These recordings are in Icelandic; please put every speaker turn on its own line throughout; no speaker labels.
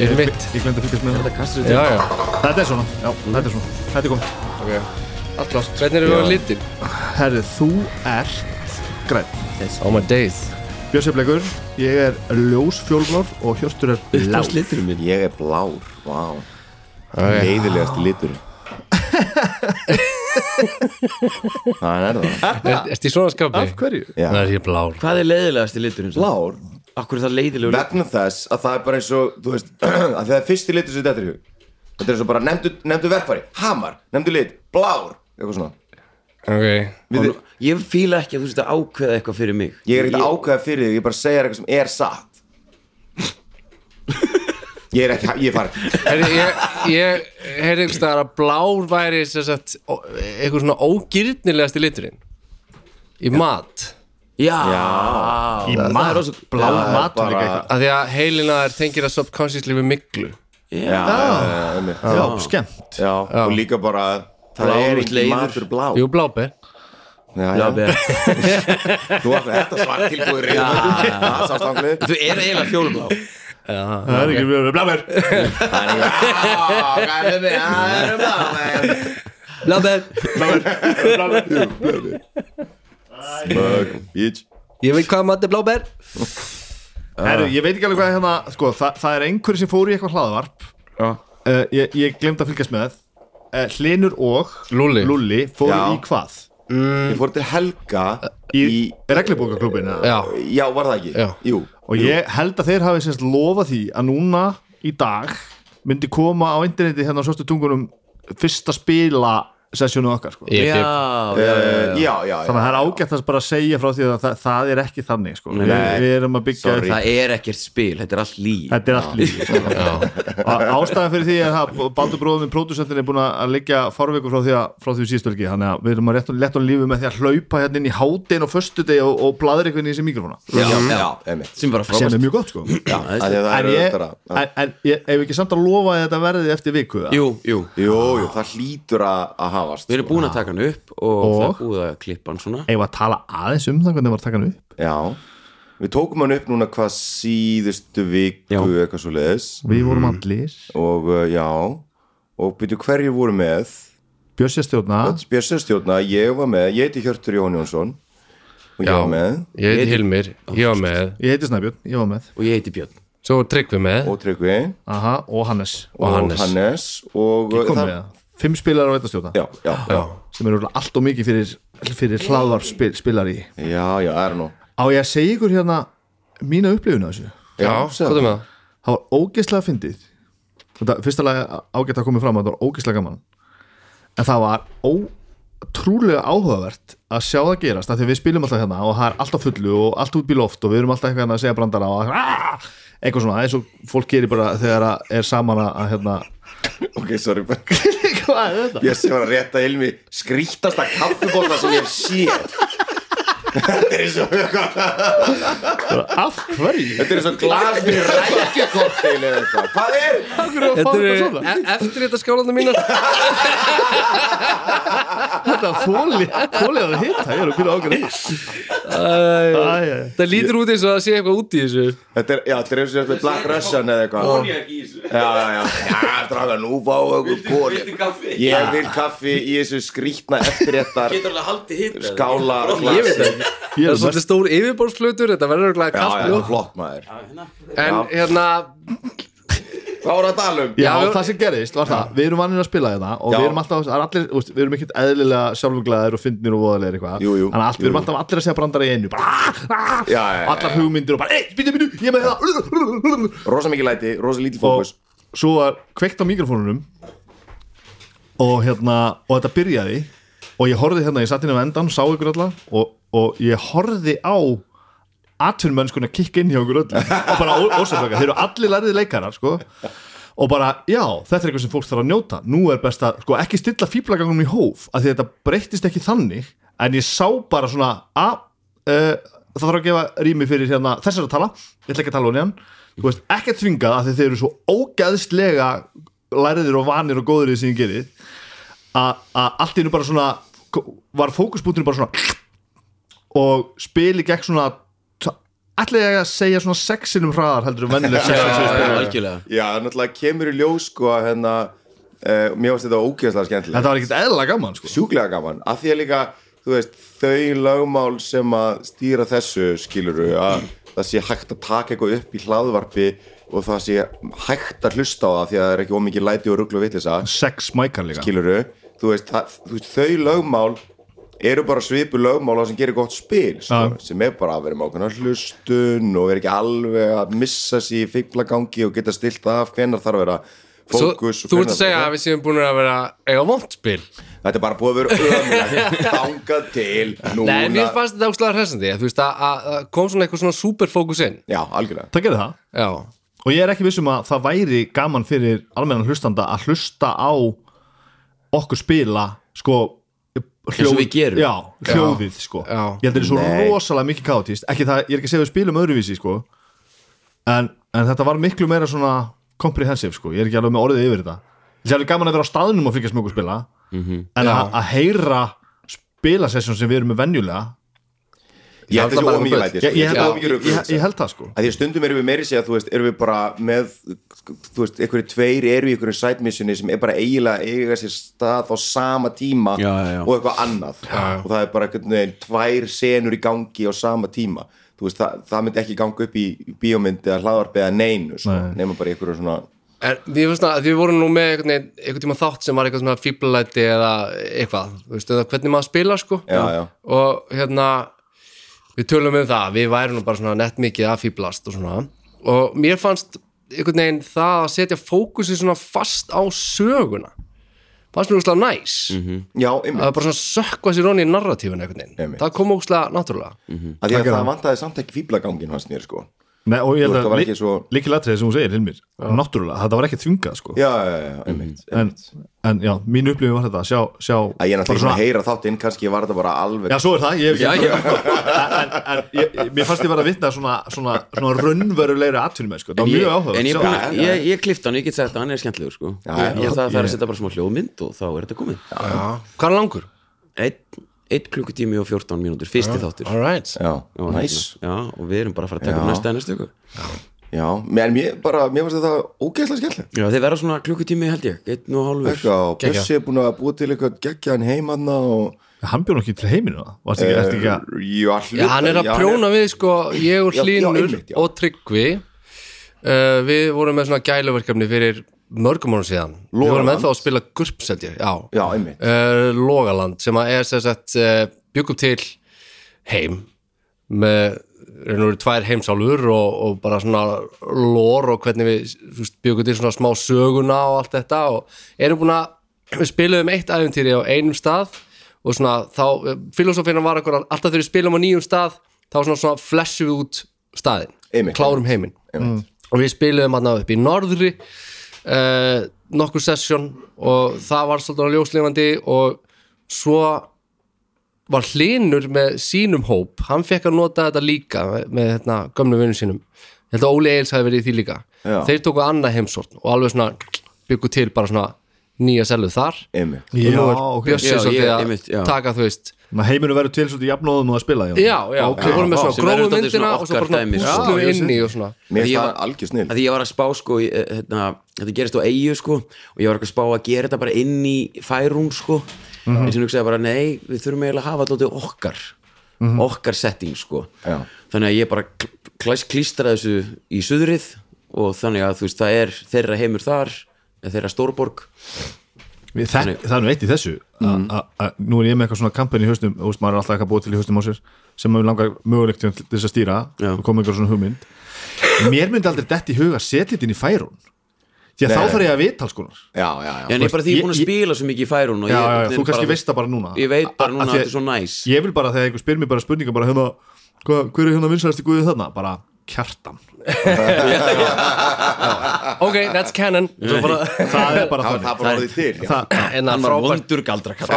Ég mitt
Ég glemt að fylgjast með það
Kastur
Já,
þetta
já,
Þetta er svona
já, þetta er svona Þetta er komið
Ok Allt klart Hvernig erum við á litin?
Herri, þú ert græn
On my days
Björnseflegur, ég er ljósfjólblár og Hjörstur er
Blár.
lár
minn Ég er blár, vá Leiðilegast litur Það er það
Er- Ertu í svona skapi?
Af hverju?
Já.
er ég blár
Hvað er leiðilegast í liturinn? Blá
Blár
Akkur er það leiðilegur litur?
Vegna þess að það er bara eins og Þú veist, að það er fyrsti litur sem þetta er í hug Þetta er eins og bara nefndu, nefndu verkfæri Hamar, nefndu lit, blár Eitthvað svona
Ok
Við,
Ég fíla ekki að þú sért að ákveða eitthvað fyrir mig
Ég er ekkert ákveða fyrir þig, ég er bara að segja þér eitthvað sem er satt Ég er ekki, ég er farin
Herri, ég, ég heyrði einhvers staðar að blár væri sem sagt, ó- eitthvað svona ógirnilegasti liturinn í mat
Já,
Í mat, blá mat
bara-
líka eitthvað
af því að heilinaðar tengir að subconsciously við miklu
Já, já, já, já,
Já, skemmt
já, og líka bara Það
Blár
er
og
ekki
leiður.
matur blá
Jú, bláber
já,
Já,
já,
ber.
Þú varst með þetta svart tilbúið reyðum
Þú er eiginlega fjólublá
Það er ekki blámer
Það er með það er blá
Blabber
Smug, bitch
Ég veit hvað mat er bláber
Herru, ég veit ekki alveg hvað hérna sko, það, það er einhverju sem fór í eitthvað hlaðvarp uh, Ég, ég glemt að fylgjast með uh, Hlinur og
Lúlli.
fóru
Já.
í hvað?
Ég fór til Helga
Í,
í,
í... reglubókaklubin
Já,
Já, var það ekki?
Já.
Jú
Og ég held að þeir hafi sérst lofa því að núna í dag myndi koma á interneti hérna á svörstu tungunum fyrsta spila sessjónu okkar sko.
ég dip
Já,
Eh,
já,
Já, já, já
Þannig að það er ágætt að bara segja frá því að það, það er ekki þannig sko. Við, við erum að byggja
Sorry.
upp-
það er ekkert spil, þetta er allt lí
Þetta er allt lífið sko. Á- Ástæðan fyrir því er að Baldur bróðum minn pródusentin er búin að liggja farveiku frá því að frá því síðustu helgi þannig að við erum að rétt og lett og lífið með því að hlaupa hérna inn í hátinn og föstudegi og, og bladur eitthvað inn í þessi mikrofóna
Já, já, einmitt
sem bara
sem
frábært
er mjög gott sko
Já, af því að það
En
er
ég,
öðvitað að-
en, en ég ef ekki samt að lofa að þetta verði eftir viku eða?
Jú, jú
Jú, jú, það hlýtur að að hafast
Við erum búin að taka hann upp og, það
Og?
er búið að klippa hann svona
eigum við að tala aðeins um það hvernig var takan upp
Já, við tókum hann upp núna hvað síðustu viku
Já.
eitthvað svo leiðis
við vorum allir,
og uh, já, og byrju hverju voru með
Björnsja stjórna
Björsastjórna, ég var með, ég heiti Hjörtur Jón Jónsson og ég
Já.
var með
Ég heiti Hilmir, ég var með
ég heiti Snæbjörn, ég var með
og ég heiti Björn
Svo var Tryggvi með
og Tryggvi
Aha, og Hannes,
og,
Hannes.
Hannes og
kom með það fimm spilar á þetta stjórna
Já, já, já,
sem eru allt og mikið fyrir, fyrir hlaðvarp spilari
já, já, það er nú
á ég að segja ykkur hérna mína upplifun af þessu
Já, hvað er með það?
það var ógeðslega fyndið þetta fyrsta lagi ágætt að koma fram að þetta var ógeðslega gaman en það var ótrúlega áhugavert að sjá það gerast af því að við spilum alltaf hérna og það er alltaf fullu og allt út í loft og við erum alltaf eitthvað hérna að segja brandara og "Ah!" eitthvað svona eins og fólk gerir bara þegar að er saman að að hérna
Ok, sorry, bara-
hvað er þetta?
Bjössi var að rétta Hilmi skrítasta kaffibóta sem ég hef séð Þetta er eins og
af hverju?
Þetta er eins og glas fyrir rækjakortil eða eitthvað. Hvað er?
Af hverju að fá
Þetta
þetta
eru
svona?
e- eftir þetta skálanda mína
Þetta fóli fólið að hitta, ég er að byrja ágætt Æ,
Það lítur út eins og það sé eitthvað út í þessu
Þetta er, já, þetta er eins og þetta er Black Russian eða eitthvað. Konjak í þessu. Já, já, já. Já, draga, nú fá okkur konjak. Viltu kaffi? Ég vil kaffi í þessu skrítna eftirréttar
Getur alveg haldið hitt
skála
Ég veit
glasi.
það
ég
Það
er
er svolítið stór yfirborðsflutur, þetta verður örugglega
Já, já,
kalt
það er
mjólk.
flott maður.
En hérna,
Hvað voru að tala um?
Já,
Já, við-
það sem gerist var það, við erum vannir að spila þetta og
Já.
við erum alltaf, það er allir, úst, við erum ekkert eðlilega sjálfuglegaðir og fyndnir og voðalegir eitthvað
Jú, jú.
Þannig að allt, við erum
Jú, jú.
alltaf allir að segja brandara í einu bara, "Ah, ah",
Já, já, já,
Allar hugmyndir og bara, ei, býtu, býtu, ég er með það
Rosa mikið læti, rosa lítið
og,
fókus.
svo var kveikt á mikrofónunum og hérna og þetta byrjaði og ég horfði hérna, ég satt inn á endan, sá ykkur alla og, og ég horfði á atvinnmennskuna kikka inn hjá okkur öll og bara ósættvaka, þeir eru allir lærið leikarar sko og bara, já, þetta er eitthvað sem fólk þarf að njóta nú er best að, sko, ekki stilla fíblagangum í hóf af því þetta breyttist ekki þannig en ég sá bara svona að, uh, það þarf að gefa rými fyrir hérna, þessar að tala, ég ætla ekki að tala hún í hann þú veist, ekki að þvingað af því þeir eru svo ógæðslega læriðir og vanir og góður í því sem ég gerði að að allt í hennu bara svona var fókusbútinu bara svona og spili gekk svona ætla ég að segja svona sexinum hraðar heldur en vennileg sex sem ég spila.
algjörlega
Já, náttúrulega kemur í ljós sko að hérna uh, mér varst þetta ógeðslega skemmtilegt
þetta var ekkert eðla gaman sko.
sjúklega gaman, af því að líka þú veist, þau lögmál sem að stýra þessu skiluru að það sé hægt að taka eitthvað upp í hlaðvarpi og það sé hægt að hlusta á það því að það er ekki ómikið læti og ruglu og vitlisa
sex mækar líka
skiluru, þú veist, það, þú veist þau lögmál eru bara svipu lögmál á sem gerir gott spil sko,
Já.
sem er bara að vera með ákveðna hlustun og vera ekki alveg að missa sér í fíblagangi og geta stilt af hvenar þarf að vera
Svo,
fókus og
þú ert
hvenær
að segja
þarf
að við séum búin að vera eiga vondspil
Þetta er bara búið að vera ömulegt þangað til núna
Nei, mér fannst þetta ákslega hressandi að Þú veist að, að, að kom svona eitthvað svona superfókus inn
Já, algjörlega
það gerði það
Já,
og ég er ekki vissum að það væri gaman fyrir almennan hlustanda að hlusta á okkur spila sko
og við gerum.
já, hljóðið sko
Já.
ég held að það er svo
Nei.
rosalega mikið kaotist ekki það, ég er ekki að segja að við spilum öðruvísi sko en, en þetta var miklu meira svona comprehensive sko, ég er ekki alveg með orðið yfir þetta ég er alveg gaman að vera á staðnum og fylgjast með okkur spila -hmm. en
Já.
að, að heyra spilasessjón sem við erum með venjulega
Ég held þessi ómikið læti
ég, ég, held,
þessi
að,
ómikið
ég,
rugl
ég, ég held það sko
að því að stundum erum við meiri segja þú veist, erum við bara með þú veist, einhverju tveir eru í einhverju side missioni sem er bara eiginlega eiga sér stað á sama tíma
Já, já, já.
og eitthvað annað og það er bara einhvern veginn tvær senur í gangi á sama tíma þú veist, það, það myndi ekki ganga upp í bíómynd eða hlaðvarp eða neinu sko,
Nei.
nema bara í einhverju svona
en við, svona, að við vorum nú með einhvern, veginn- einhvern tíma þátt sem var eitthvað svona fíblalæti eða eitthvað, þú veist, eða hvernig maður spila sko
Já, já.
og hérna við tölum um það, við værum nú bara svona nett mikið að fíblast og svona og mér fannst einhvern veginn það að setja fókusið svona fast á söguna fannst mér úrslega næs
já,
að
einmitt,
það bara svona sökva sér onni í narratífun einhvern veginn,
Einmitt. Mhm.
það kom úrslega náttúrulega
að því að
Takk
það
fyrir.
vantaði samt ekki fíblagangin hans mér sko
Nei, og ég held
Þú veist, það var
að
ekki svo-
líkilatrið sem hún segir, Hilmir náttúrulega, þetta var ekki þvingað sko.
já, já, já, einmitt,
en,
einmitt.
en já, mín upplifin var þetta að sjá, sjá
að ég er
bara
náttúrulega svona... að heyra þáttinn, kannski var þetta bara alveg
Já, svo er það, ég hef
Já,
ekki
já.
en, en ég, ég- mér fannst ég vera að vitna að svona, svona, svona raunverulegri atvinnum sko. það var mjög áhugað
en ég, búin,
Sjá-
ég, ég, ég klifta hann, ég get sagt að hann er skemmtilegur sko.
já,
ég held að það er að setja bara smá hljóðmynd og þá er þetta komið
hvað er langur?
einn ein klukkutími og 14 mínútur fyrsti þáttur
All right.
já,
og,
næs
hérna, já, og við erum bara að fara að taka
Já.
upp næsta næstu ykkur
Já, en mér bara, mér finnst þetta ógeðslega skemmtilegt
já, þeir verða svona klukkutími held ég, einn og hálfur
Eitthvað, og Bjössi er búin að búið til eitthvað geggjaðan heimanna og
hann bjóð ekki til heiminu það varst
Eh,
ekki, ertu ekki að
Jú, allir
Já, hann er að prjóna við sko ég og
Já, já,
Hlynur
einmitt, já.
og Tryggvi uh, við vorum með svona gæluverkefni fyrir mörgum árum síðan við vorum
Logaland.
ennþá að spila GURPS held ég, já,
Já, einmitt
Uh, Logaland sem að er sem sagt uh, byggum til heim með raun og veru tvær heimsálfur og, og bara svona lór og hvernig við þú veist, byggum til svona smá söguna og allt þetta og erum búin að við spiluðum eitt æfintýri á einum stað og svona þá, filosófina var okkur að alltaf þegar við spilum á nýjum stað þá svona, svona flessu við út staðinn
Einmitt.
klárum heiminn og við spiluðum hann upp í norðri uh, nokkur sesjón og það var svolítið ljóslifandi og svo var hlinur með sínum hóp hann fekk að nota þetta líka með, með hérna, gömlu vinnum sínum ég held að Óli Eils hafi verið í því líka
Já.
þeir tóku annað heimsort og alveg svona byggu til bara svona nýja selvu þar
Einmitt
og nú
já,
er
ok,
Bjössi
Já, ég-
svolítið að
einmitt, já.
taka þú veist
Ná, heiminu verður til svolítið jafnóðum og að spila
já, já,
ok.
við vorum með svona
sem verður
gróðu
dálítið
myndina
svona
og svo bara svona
okkar dæmi, sko.
púslu
Já, ég sé.
inni og svona
Mér
Því
finnst
ég
það
var-
algjör snill
að því ég var að spá sko í, eh, hérna, þetta gerist á eigu sko og ég var eitthvað að spá að gera þetta bara inn í færum sko mm -hmm. eins og hugsaði bara nei, við þurfum eiginlega að hafa alltaf okkar okkar setting sko
Já.
þannig að ég bara klæs klístra þessu í suðrið og þannig að þú veist það er þeirra heimur þar eða þeirra stórborg
Við- Það, það er nú eitt í þessu mm. a, a, Nú er ég með eitthvað svona kampin í haustum og veist, maður er alltaf eitthvað búið til í haustum á sér sem maður langar mögulegt til þess að stýra
Já.
og koma eitthvað svona hugmynd Mér myndi aldrei detti í huga að setja þetta inn í færun því að
Nei.
þá þarf ég að vita alls konar
já, já, já,
Já, en ég bara því ég er búin að
ég-
spila svo mikið í færun og
já,
ég,
já, já,
ég
þú kannski
bara-
veist það bara núna
Ég veit bara
Að-
núna
að
að
því
þetta er svo næs
ég vil bara þegar einhver spyr mér bara spurningar bara hérna, hva, hver er hérna vinsæðasti guðið þarna bara kjartan
ok, that's canon Svo bara-
það er bara
það
þannig
það bara orðið til já.
það,
en það
Hann var
frábært
vondur galdra kall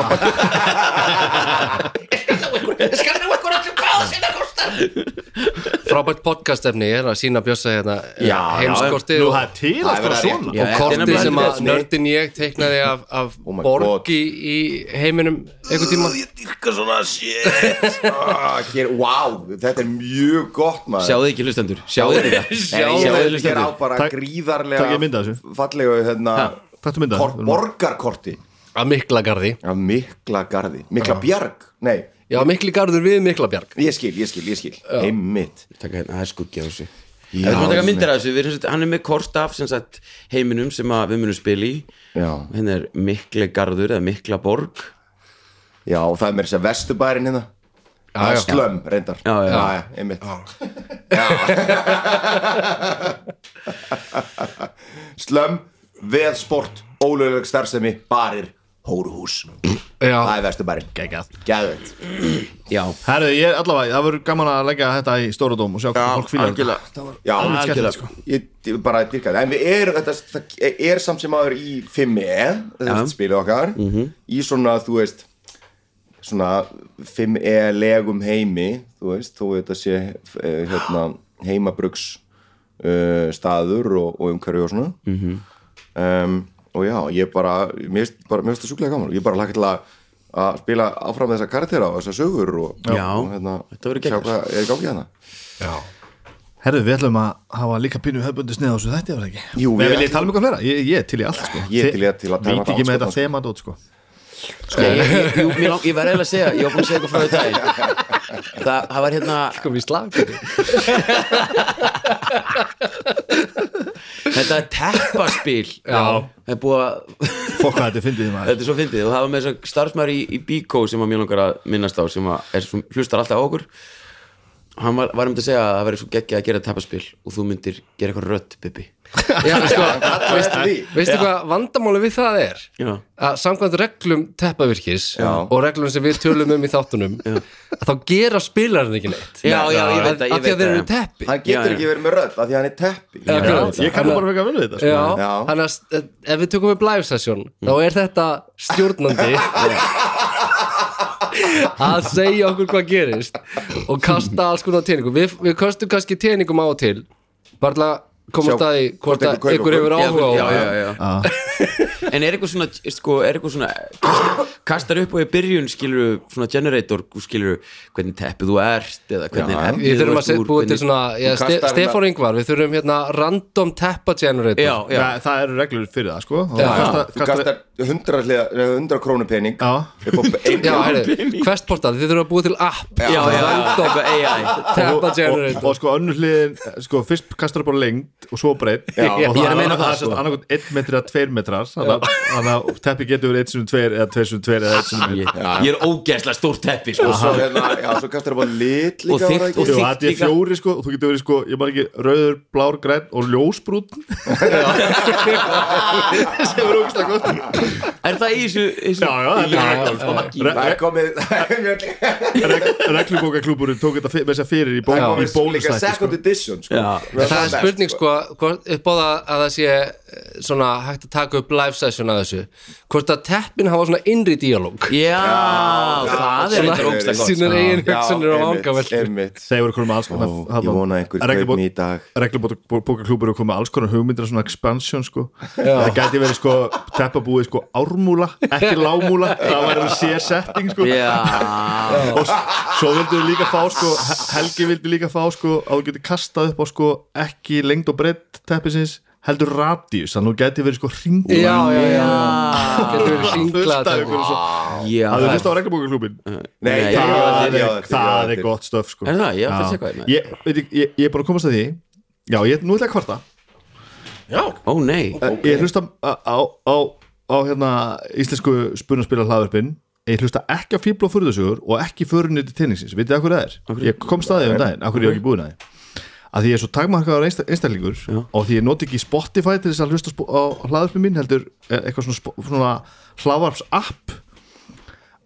frábært podcast efni er að sína bjössa hérna
Já, já.
heimskortið
nú
og,
það er til
Það
að
er
skora
verið að
svona Oh
og
Já, þetta er
kortið
nefnilega
sem að
helviti.
nördin ég teiknaði af, af
Oh my God.
borgi í heiminum einhvern tíma
ég dyrka svona shit ah, hér, wow, þetta er mjög gott maður
Sjáðu ekki hlustendur, sjáðu þetta
Sjáðu
Ég veit,
Sjáðu
hér á
hlustendur
bara
Takk-
gríðarlega
takk ég mynd af þessu.
fallegu hérna,
Taktu mynd af
kort,
þessu.
borgarkorti
að mikla garði
af mikla garði, mikla bjarg nei,
já, mikli garður við mikla bjarg
ég skil, ég skil, ég skil einmitt
Takk hérna, það er skuggi á þessu
Já,
Það er að taka
einmitt.
myndir af þessu, við, erum sem sagt- hann er með kort af sem sagt, heiminum sem að við munum spila í
Já.
Henn er mikli garður eða mikla borg
já, og það er mér þess að vesturbærin hérna
já.
það er slömm, reyndar
Já, já.
einmitt slömm, veðsport ólögleg starfsemi, barir hóruhús, það
já,
er vesturbærin
Geggjað.
gæðveit
Já,
Herðu, ég er allavega, það verður gaman að leggja þetta í stóra dóm og sjá hvað fólk fílar þetta.
Já,
Alveg
algjörlega.
skemmtilegt, sko.
ég, ég bara dyrka það en við erum, þetta það er samt sem aður í 5e, þetta spilið okkar
Mhm.
í svona, þú veist svona 5e legum heimi, þú veist þú veit að sé eh, hérna, heimabrugs uh, staður og, og umhverju og svona
Mhm.
um, og já, ég bara mér finnst bara- mér finnst það sjúklega gaman ég bara laka til að að spila áfram þessa karaktera og þessa sögur og,
Já.
og hérna,
Þetta verður
sjá
geggjað.
hvað er í gangi hérna
Herðu, við ætlum að hafa líka pínu höfbundis neða á þessu þetta, var það ekki?
Jú,
við
við-
viljum tala um eitthvað flera, ég, ég er til í allt, sko.
Ég er til í að- til að tala um
Veit ekki
allt,
með
sko,
þetta
sko.
þema dót, sko.
ég, ég, jú, mér lang- ég var eiginlega að segja, ég var búin að segja eitthvað frá þetta Það, það var hérna,
kom í slag
þetta teppaspil
Já.
Það er búið að
Fokk hvað þetta er fyndið maður.
Þetta er svo fyndið og það var með þess að starfsmæður í, í Bíkó sem að mjög langar að minnast á sem að er, sem hlustar alltaf á okkur hann var, var um til að segja að það væri svo geggjað að gera tappaspil og þú myndir gera eitthvað rödd Bibi
já, sko,
Allt því
veistu hvað vandamáli við það er
Já.
að samkvæmt reglum teppavirkis já. og reglum sem við tölum um í þáttunum að þá gera spilarinn ekki neitt
Já, já, ég veit það,
að því
ég
að
veit
þeir
það,
eru
já.
teppi
hann getur
Já, já.
ekki verið með rödd af því að hann er teppi
Já, akkurat.
Ég kannu bara feka vel við þetta, sko.
Já,
Já.
hann að st- ef við tökum upp live session þá er þetta stjórnandi að segja okkur hvað gerist og kasta alls konar teningum við, við köstum kannski teningum á og til bara til að
Sjá
komast að því hvort
hvort
að
einhver kaupir
ykkur hefur
Já,
áhuga á
já, já,
því.
já. En er eitthvað svona, sko, er eitthvað svona kastar, kastar upp og í byrjun skilur svona generator, skilur hvernig teppið þú ert eða hvernig
Já.
efnið
Við þurfum að
þú ert
set-
úr,
búa til
hvernig-
svona já,
þú
ste,
kastar
Stefán Ingvar, við þurfum hérna random teppa generator
Já, já,
Það, það eru reglur fyrir það, sko. Og
Já.
kasta-
þú
kasta-
kastar 100, hliða- eða 100 krónu pening
Já.
upp á einu
Já, heyrðu, questportal, þið þurfum að búa til app
já, já,
Random
eitthvað AI
teppa
Og,
generator
og sko önnur hliðin, sko fyrst kastar bara lengt og svo breytt
Já.
og
Ég er að meina það,
það
sko.
er annarkot 1 metri að 2 metrar þannig að- þannig að teppi getur verið 1 sem 2 eða 2 sem 2 eða 1 sem 1
Ég, ég er ógeðslega stór teppi, sko
og svo, hérna, já, svo kastar upp á lit
Og
líka
þykkt
var það ekki?
og
Jú,
þykkt
það er
líka.
fjóri sko og þú getur verið sko, ég maður ekki rauður, blár, græn og ljósbrún sem er ógæslega gott
Er það í þessu, þessu
Já, já, þetta er
já,
reglum.
já,
það er komið það
Reg- Reglubókaklúbburinn tók þetta fyr- með þess að fyrir í bó-
er
í
komið líka
bónustætti sko.
second edition sko.
Já.
Við
Það er
best,
spurning sko, hvort- upp á það að það sé eh, svona hægt að taka upp live session að þessu hvort að teppin hafa svona innri díalóg
Já, það er
Svona-
eitthvað ógeðslega gott
sínar eigin
sko. Já,
hugsanir og
einmitt,
vangaveltur
einmitt.
Þeir voru komið með um alls konar
Ó,
þarna-
ég vona að einhver
reglubók-
kaup mig í dag.
Reglubókaklúbburinn voru komið með alls konar hugmyndir af svona expansion sko Það gæti verið sko teppabúið sko ármúla, ekki lágmúla það væri sér setting sko
Já,
og s- svo vildu við líka fá sko, Helgi vildi líka fá sko, að þú getur kastað upp á sko, ekki lengd og breytt teppisins heldur radius, þannig að þú geti verið sko hringur
Já, já, já
Ah.
Getur verið hringlað
fullt af
að
ykkur og svo
já
að þú
það
hlust á reglubókaklúbin
Nei,
Nei,
já,
ég
já,
það
já,
er- það er gott stöf sko.
Er það? Ég ætla að
Já.
checka það, maður.
ég, veit ekki, ég, ég er bara að komast að því já, ég, nú ætla ég að kvarta
Ó nei,
ég hlusta á, á, á, á hérna, íslensku spunarspila hlaðurpin ég hlusta ekki á fíbl og furðusugur og ekki förunni til tenningsins, vitið það hverju það er? ég kom staðið um daginn, af hverju ég hef ekki búin að því að því ég er svo takmarkaður einsta- einstaklingur
Já.
og því ég noti ekki Spotify til þess að hlusta á spo- á hlaðarpið mín heldur eh, eitthvað svona, spo- svona hlaðarps app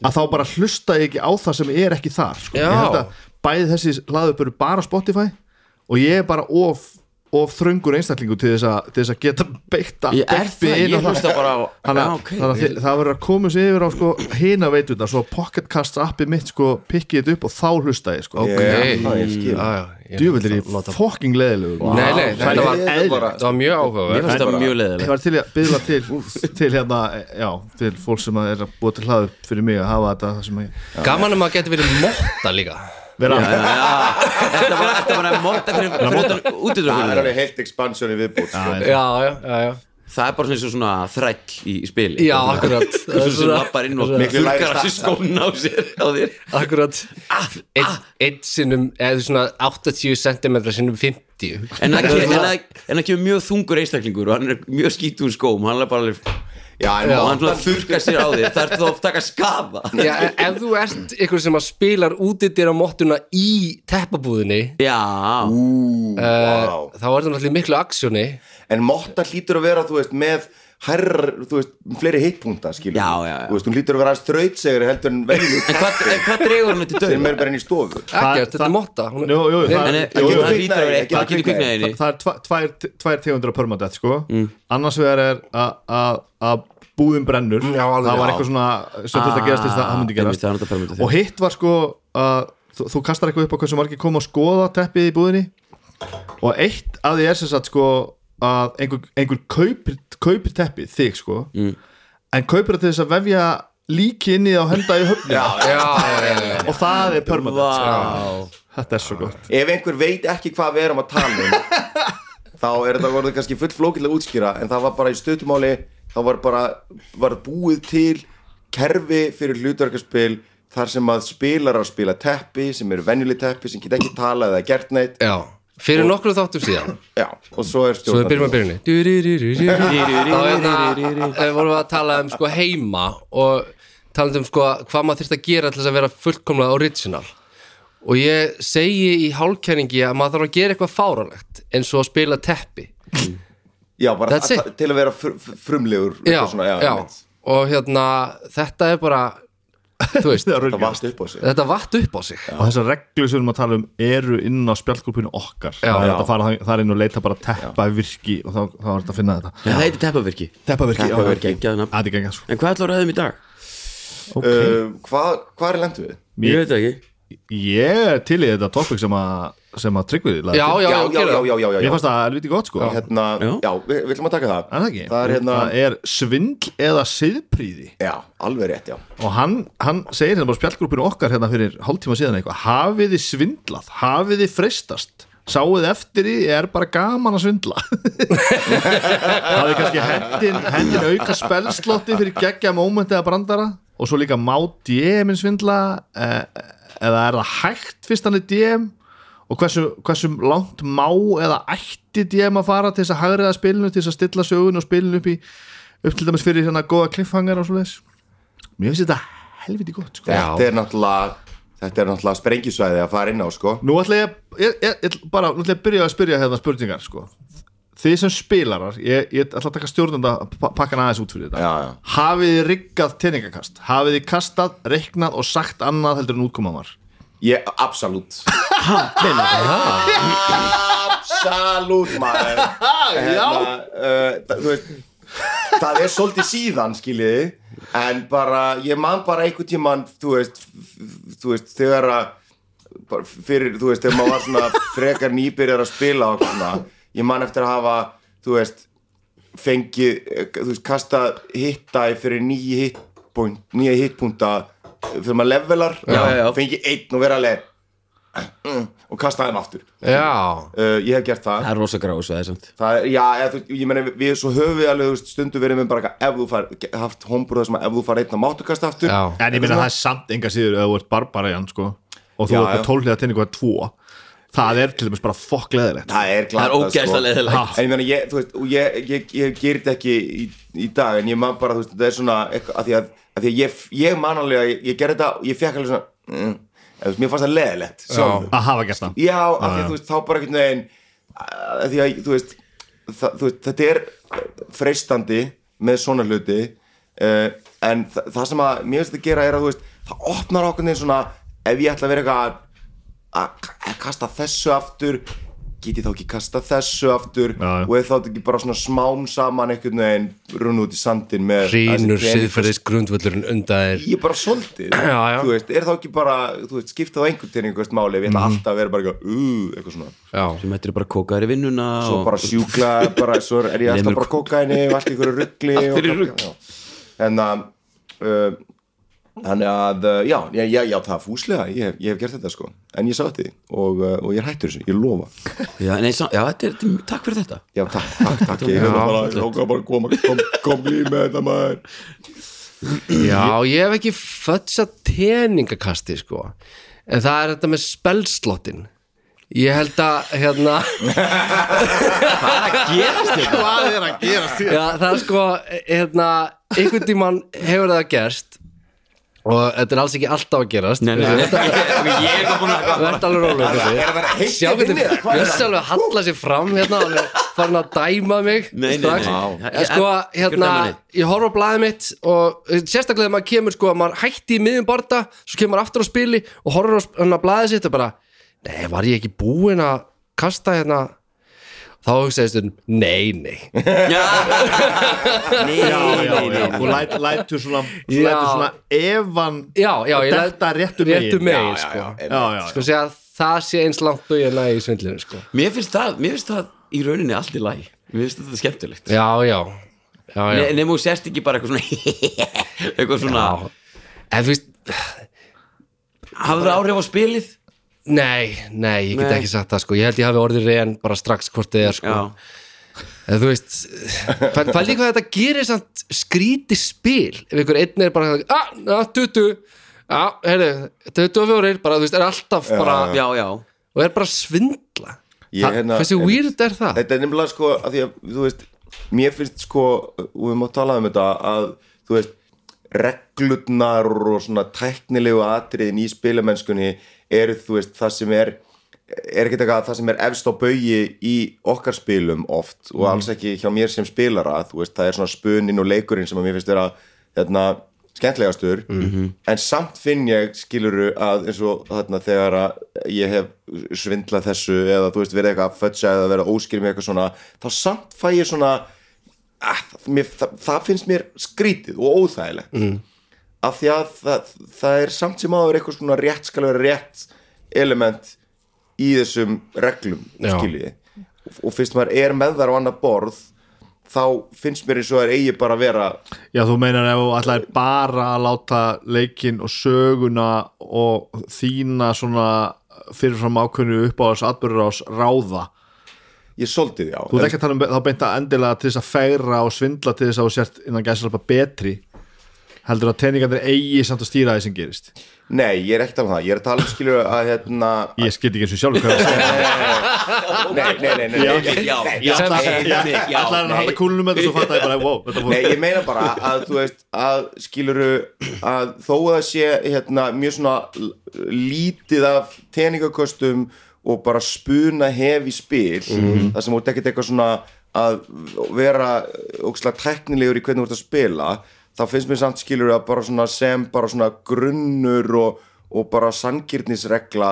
að þá bara hlusta ég ekki á það sem er ekki þar sko.
Já.
ég held að bæði þessi hlaðarp eru bara á Spotify og ég er bara of, of þröngur einstaklingu til þess, að, til þess að geta beikta
Ég er það, ég hlusta bara á
Þannig að,
Já, ok.
þannig að þið- það verður að koma sér yfir á sko, hina veituna, svo pocketcast appi mitt sko, pikkið þetta upp og þá hlusta ég sko.
Ok,
Ég- já, ég skil.
Já, já, ég-
djúvillir ég
Nota-
fokking leðilegur wow.
Nei, nei, þetta var,
Þetta
eðlilegt.
bara-
þetta var mjög
Mér
áhugavert
finnst það mjög
ég
leiðilegt
var til í að byðla til, til hérna, já, til fólk sem er að búa til hlaðu fyrir mig að hafa þetta það sem ég
Gaman að maður geti verið motta líka
vera að
Þetta var- þetta var að móta fyrir, fyrir
Það
utan
er
útidrökunum
alveg heilt expansioni viðbútt sko.
Já, já, já, já
Það er bara svona eins og svona þræll í í spili
Já, akkurat
Svo sem lappar inn og
Miklu lægri
þurrkar að sér
standard.
skóna á sér á þér
Akkurat Ah, Einn ein sinnum, eða svona 80 cm sinnum 50
En það kemur- en það- en það kemur mjög þungur einstaklingur og hann er mjög skítur skóm hann er bara alveg
Já, en
og hann
móttan-
er að þurrka sér á þér það er þá að taka skafa
Já, e- ef þú ert ykkur sem að spilar útidyra mottuna í teppabúðinni
Já,
Ú, vá.
þá er það náttúrulega í miklu aksjóni
En Motta hlýtur að vera, þú veist, með herrar, þú veist, fleiri hitpunta, skilur
Já, já, já.
Þú veist, hún hlýtur að vera aðeins þrautsegri heldur en
en
venjuleg
hvað, en hvað dregur hann þetta
sem
döð?
er bara inn í stofu
Ekkert, þetta
það-
er motta Hún er-
Jú, jú, það-
En
Jú,
það getur
það
það hlýtur að vera eitthvað, það
kviknaði.
getur kviknaði
Þa,
henni
það er tva, tvær, tvær tegundur af permadeath sko.
Mm.
annars vegar er að- að að búðin brennur
Mm, Já, alveg.
það var
Já.
eitthvað svona sem þurfti að gerast til þess að það myndi
Ah, einmitt, það er þetta permanent,
gerast og hitt var sko að þú, þú kastar eitthvað upp á hversu margir koma að skoða teppið í búðinni og eitt að því er sem sagt sko að einhver, einhver kaupir, kaupir teppið þig sko
Mm.
en kaupir það til þess að vefja líki inni á henda í höfnina
Já, já, já, já.
og það er permadeath sko.
Vá.
þetta er svo gott
Ef einhver veit ekki hvað við erum að tala um þá er þetta voruð kannski full flókilega útskýra en það var bara í stötumáli þá var bara var búið til kerfi fyrir hlutverkarspil þar sem að spilarar spila teppi sem eru venjuleg teppi sem geta ekki talað eða gert neitt
já Fyrir nokkru þáttum síðan
Já, og svo er
Svo við
stjórnandi
byrjum að byrjunni Þá hérna, eh, vorum við að tala um sko heima og tala um sko hvað maður þyrfti að gera til þess að vera fullkomlega original og ég segi í hálkjæringi að maður þarf að gera eitthvað fáralegt eins og að spila teppi
Já, bara
That's
að,
it.
til að vera fr fr- frumlegur
já,
eitthvað svona, já,
já.
einmitt.
og hérna þetta er bara þú veist,
það
Það vast upp á sig
þetta vatt upp á sig
og þessar reglur sem við erum að tala um eru inn á spjallgrúpinu okkar já, það er
já.
hægt að fara þang- þar inn og leita bara teppa virki og þá, þá er þetta að finna þetta
Það heitir teppavirki
teppa virki,
Teppavirki, ekki að nafn
það er ekki sko.
En hvað ætlar að ræðum í dag?
okay.
uh, Hvað hva er lendu við?
Ég veit það ekki
ég er til í þetta topic sem að, sem að tryggvið
já, já, já,
já, já, já, já, já,
ég
já.
fannst það helviti gott sko já.
Hérna, já,
Já.
við, við ætlum að taka það
En það, ekki?
Það er hérna,
það er svindl eða siðpríði
já, alveg rétt, já
og hann, hann segir hérna bara spjallgrúpinu okkar hérna fyrir hálftíma síðan eitthvað hafið þið svindlað, hafið þið freistast sáuð eftir því er bara gaman að svindla það er kannski hendin, hendin auka spelslotti fyrir geggja mómenti eða brandara og svo líka má DM svindla eh, eða er það hægt fyrst hann er DM og hversu, hversu langt má eða ætti DM að fara til þess að hagriða spilinu, til þess að stilla sögun og spilinu upp í upp til dæmis fyrir hérna góða cliffhanger og svo leis mér finnst þetta helviti gott sko.
Þetta er náttúrulega Þetta er náttúrulega sprengjusvæði að fara inn á sko
nú ætla ég, ég, ég, ég ætla bara nú ætla ég að byrja að spyrja hérna spurningar sko. þið sem spilarar ég, ég ætla að taka stjórnanda pakkan aðeins út fyrir þetta
Já, já.
hafið þið riggað teiningakast hafið þið kastað, reiknað og sagt annað heldur en útkoman var
Ég, absolutt Absolutt maður hérna, uh, það, þú veist, það er svolítið síðan skiljiði en bara, ég man bara einhvern tíman þú veist, f- f- þú veist þegar að bara fyrir, þú veist, þegar maður var svona frekar nýbyrjar að spila og svona, ég man eftir að hafa þú veist, fengið eh, þú veist, kasta hittæ fyrir nýja hittpunkt nýja hittpunta fyrir eh, maður levelar
Já, já, já.
fengið einn og vera alveg mm, og kasta þeim aftur
já,
uh, ég hef gert það
Það er rosa grás að það er samt
Það er, já, eða, þú, ég meni, við svo höfum við alveg þú veist, stundu verið með bara eitthvað ef þú far, haft homburða sem að ef þú far einn að máttukast aftur
Já.
en ég meina það er samt enga síður að þú ert barbara í hann sko. og þú
Já,
ert
já.
með tólhliða teiningu að tvo það er til dæmis bara fokkleðilegt
það er
Það
glatað sko.
er ógæðslega leðilegt
en ég meina, ég, þú veist, og ég, ég, ég gerir þetta ekki í, í dag en ég man bara, þú veist, það er svona eitthvað, að því að, að því að ég, ég man alveg að ég, ég gerði þetta og ég fekk alveg svona mm, eða, þú veist, mér fannst það leðilegt sjálfur.
að hafa gert það
Já, af því að þú veist, þá bara einhvern veginn að því að þú veist, það, þú veist þetta er freistandi með svona hluti uh, en það, það sem að mér finnst að gera er að þú veist, það opnar okkur neins svona ef ég ætla að vera eitthvað að- að að kasta þessu aftur get ég þá ekki kasta þessu aftur
Já, já.
og eða þá ekki bara svona smám saman einhvern veginn runn út í sandin með
Rínur
þessi pening-
siðferðis grundvöllurinn undar
ég er bara svolítið
Já, já.
þú veist, er þá ekki bara, þú veist, skipta þá einhvern til einhvert máli, við ætla alltaf að vera bara eitthvað, uh, eitthvað svona,
Já,
sem ættir bara að kóka þér í vinnuna
svo
og
bara sjúkla bara, svo er ég alltaf
Lemur-
bara kokaini og allt í hverju ruggli
Allt í rugli.
en að uh, þannig að, uh, já, já, já, já það er fúslega, ég, hef- ég hef gert þetta sko en ég sá þetta og, uh, og ég er hættur þessu, ég lofa
já, nei, sá, já, þetta er, þetta er- takk fyrir þetta
já, takk, takk, takk, ég hef bara, ég ákvað bara að koma, kom, kom í með þetta maður
já, ég hef ekki fötsa teningakasti sko en það er þetta með spelslotin Ég held að hérna
hérna?
Hvað er að gerast hér?
Já, það er sko, hérna, einhvern tímann hefur það gerst og þetta er alls ekki alltaf að gerast
nei, nei, nei, ég er bara búin að
Þetta alveg rólega
er það að vera
hérna
heitt
Sjá
í
hvernig
vinnu eða hvað er
Bjössi alveg halla sér fram hérna alveg farin að dæma mig
Nei, nei,
strax.
nei.
Ég, Sko,
Ég- ég-
hérna,
hver dæmir þig?
ég horf á blaðið mitt og eh, sérstaklega ef maður kemur sko að maður hætti í miðjum borta, svo kemur maður aftur á spili og horfur á sp- hérna, blaðið sitt og bara Nei, var ég ekki búinn að kasta hérna þá hugsaði stundum, nei, nei
nei, nei,
Já,
nei,
já,
nei,
Þú læt, lætur svona,
Já.
þú lætur svona evan
Já, já, ég læt-
Þetta réttu megin.
réttu megin,
Já, já,
sko
já, einmitt.
Já, já,
sko segja að það sé eins langt og ég næði í svindlinu sko
mér finnst það mér finnst það í rauninni allt í lagi mér finnst þetta skemmtilegt
já, já, já, já.
Ne- nema þú sérst ekki bara eitthvað svona eitthvað svona
já. en þú veist,
hafðu það áhrif á spilið
nei, nei ég get
Nei.
ekki sagt það sko, ég held ég hafi orðið reyn bara strax hvort þið er sko
já,
en þú veist, fæl ég hvað þetta gerir samt skríti spil ef einhver einn er bara, ah, na, tutu já, heyrðu, 24 bara, þú veist, er alltaf bara
já, já
og er bara að svindla
Ég,
Það-
hérna,
hversu
einmitt.
weird er það?
þetta er nefnilega sko að því að þú veist, mér finnst sko og við mátt tala um þetta að þú veist, reglurnar og svona tæknilegu atriðin í spilamennskunni eru þú veist það sem er er ekkert eitthvað það sem er efst á baugi í okkar spilum oft og alls ekki hjá mér sem spilara þú veist, það er svona spunin og leikurinn sem að mér finnst vera hérna, skemmtlegastur -hmm. en samt finn ég skiluru að eins og þarna þegar að ég hef svindlað þessu eða þú veist verið eitthvað að fötsa eða verið óskýr með eitthvað svona þá samt fæ ég svona að, mér, það, það finnst mér skrítið og óþægilegt mm. af því að það, það er samt sem áður eitthvað svona rétt skal vera rétt element í þessum reglum
Já.
skiljiði og, og fyrst maður er með þar á annað borð þá finnst mér eins og það er eigi bara að vera
Já, þú meinar ef þú ætlaðir bara að láta leikinn og söguna og þína svona fyrirfram ákveðnu upp á þess atbyrður ráða.
ég soldið já
Þú ert ekki að tala um be- þá beint að endilega til þess að fegra og svindla til þess að þú sért innan gæslega betri heldur að teiningarnir eigi samt að stýra því sem gerist.
nei, ég er ekkert af það, ég er að tala um skilur að hérna
Ég skil ekki eins og sjálfur hvað það er.
nei, nei, nei, nei, nei,
já, já,
Ég ætlaði
nei,
ég-
nei,
ég
já,
ætlaði að
nei.
halda kúlunum með þetta svo fatt að ég bara, wow, þetta fór.
Nei, ég meina bara að þú veist að skiluru að þó að það sé hérna, mjög svona l- lítið af teningaköstum og bara spuna hef í spil
Mhm.
þar sem þú ert ekkert eitthvað svona að vera ókslega tæknilegur í hvernig þú ert að spila þá finnst mér samt skiluru að bara svona sem bara svona grunnur og, og bara sangirnisregla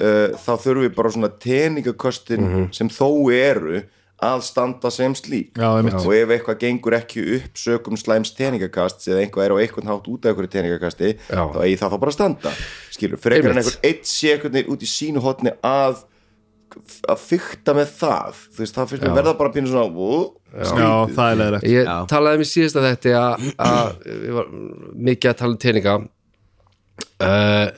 uh, þá þurfi bara svona teningaköstin
Mhm.
sem þó eru að standa sem slík
Já, einmitt.
og ef eitthvað gengur ekki upp sögum slæms teningakast eða einhvað er á einhvern hátt út af einhverju teningakasti
Já.
þá eigi það þá bara að standa skilur, frekar en
Einmitt.
einhver eitt sé einhvern veginn út í sínu hotni að að fykta með það þú veist, það finnst mér verða bara að pínu svona vó,
Já, það er leðilegt.
Ég talaði um í síðasta þetta að, að ég var mikið að tala um teininga uh,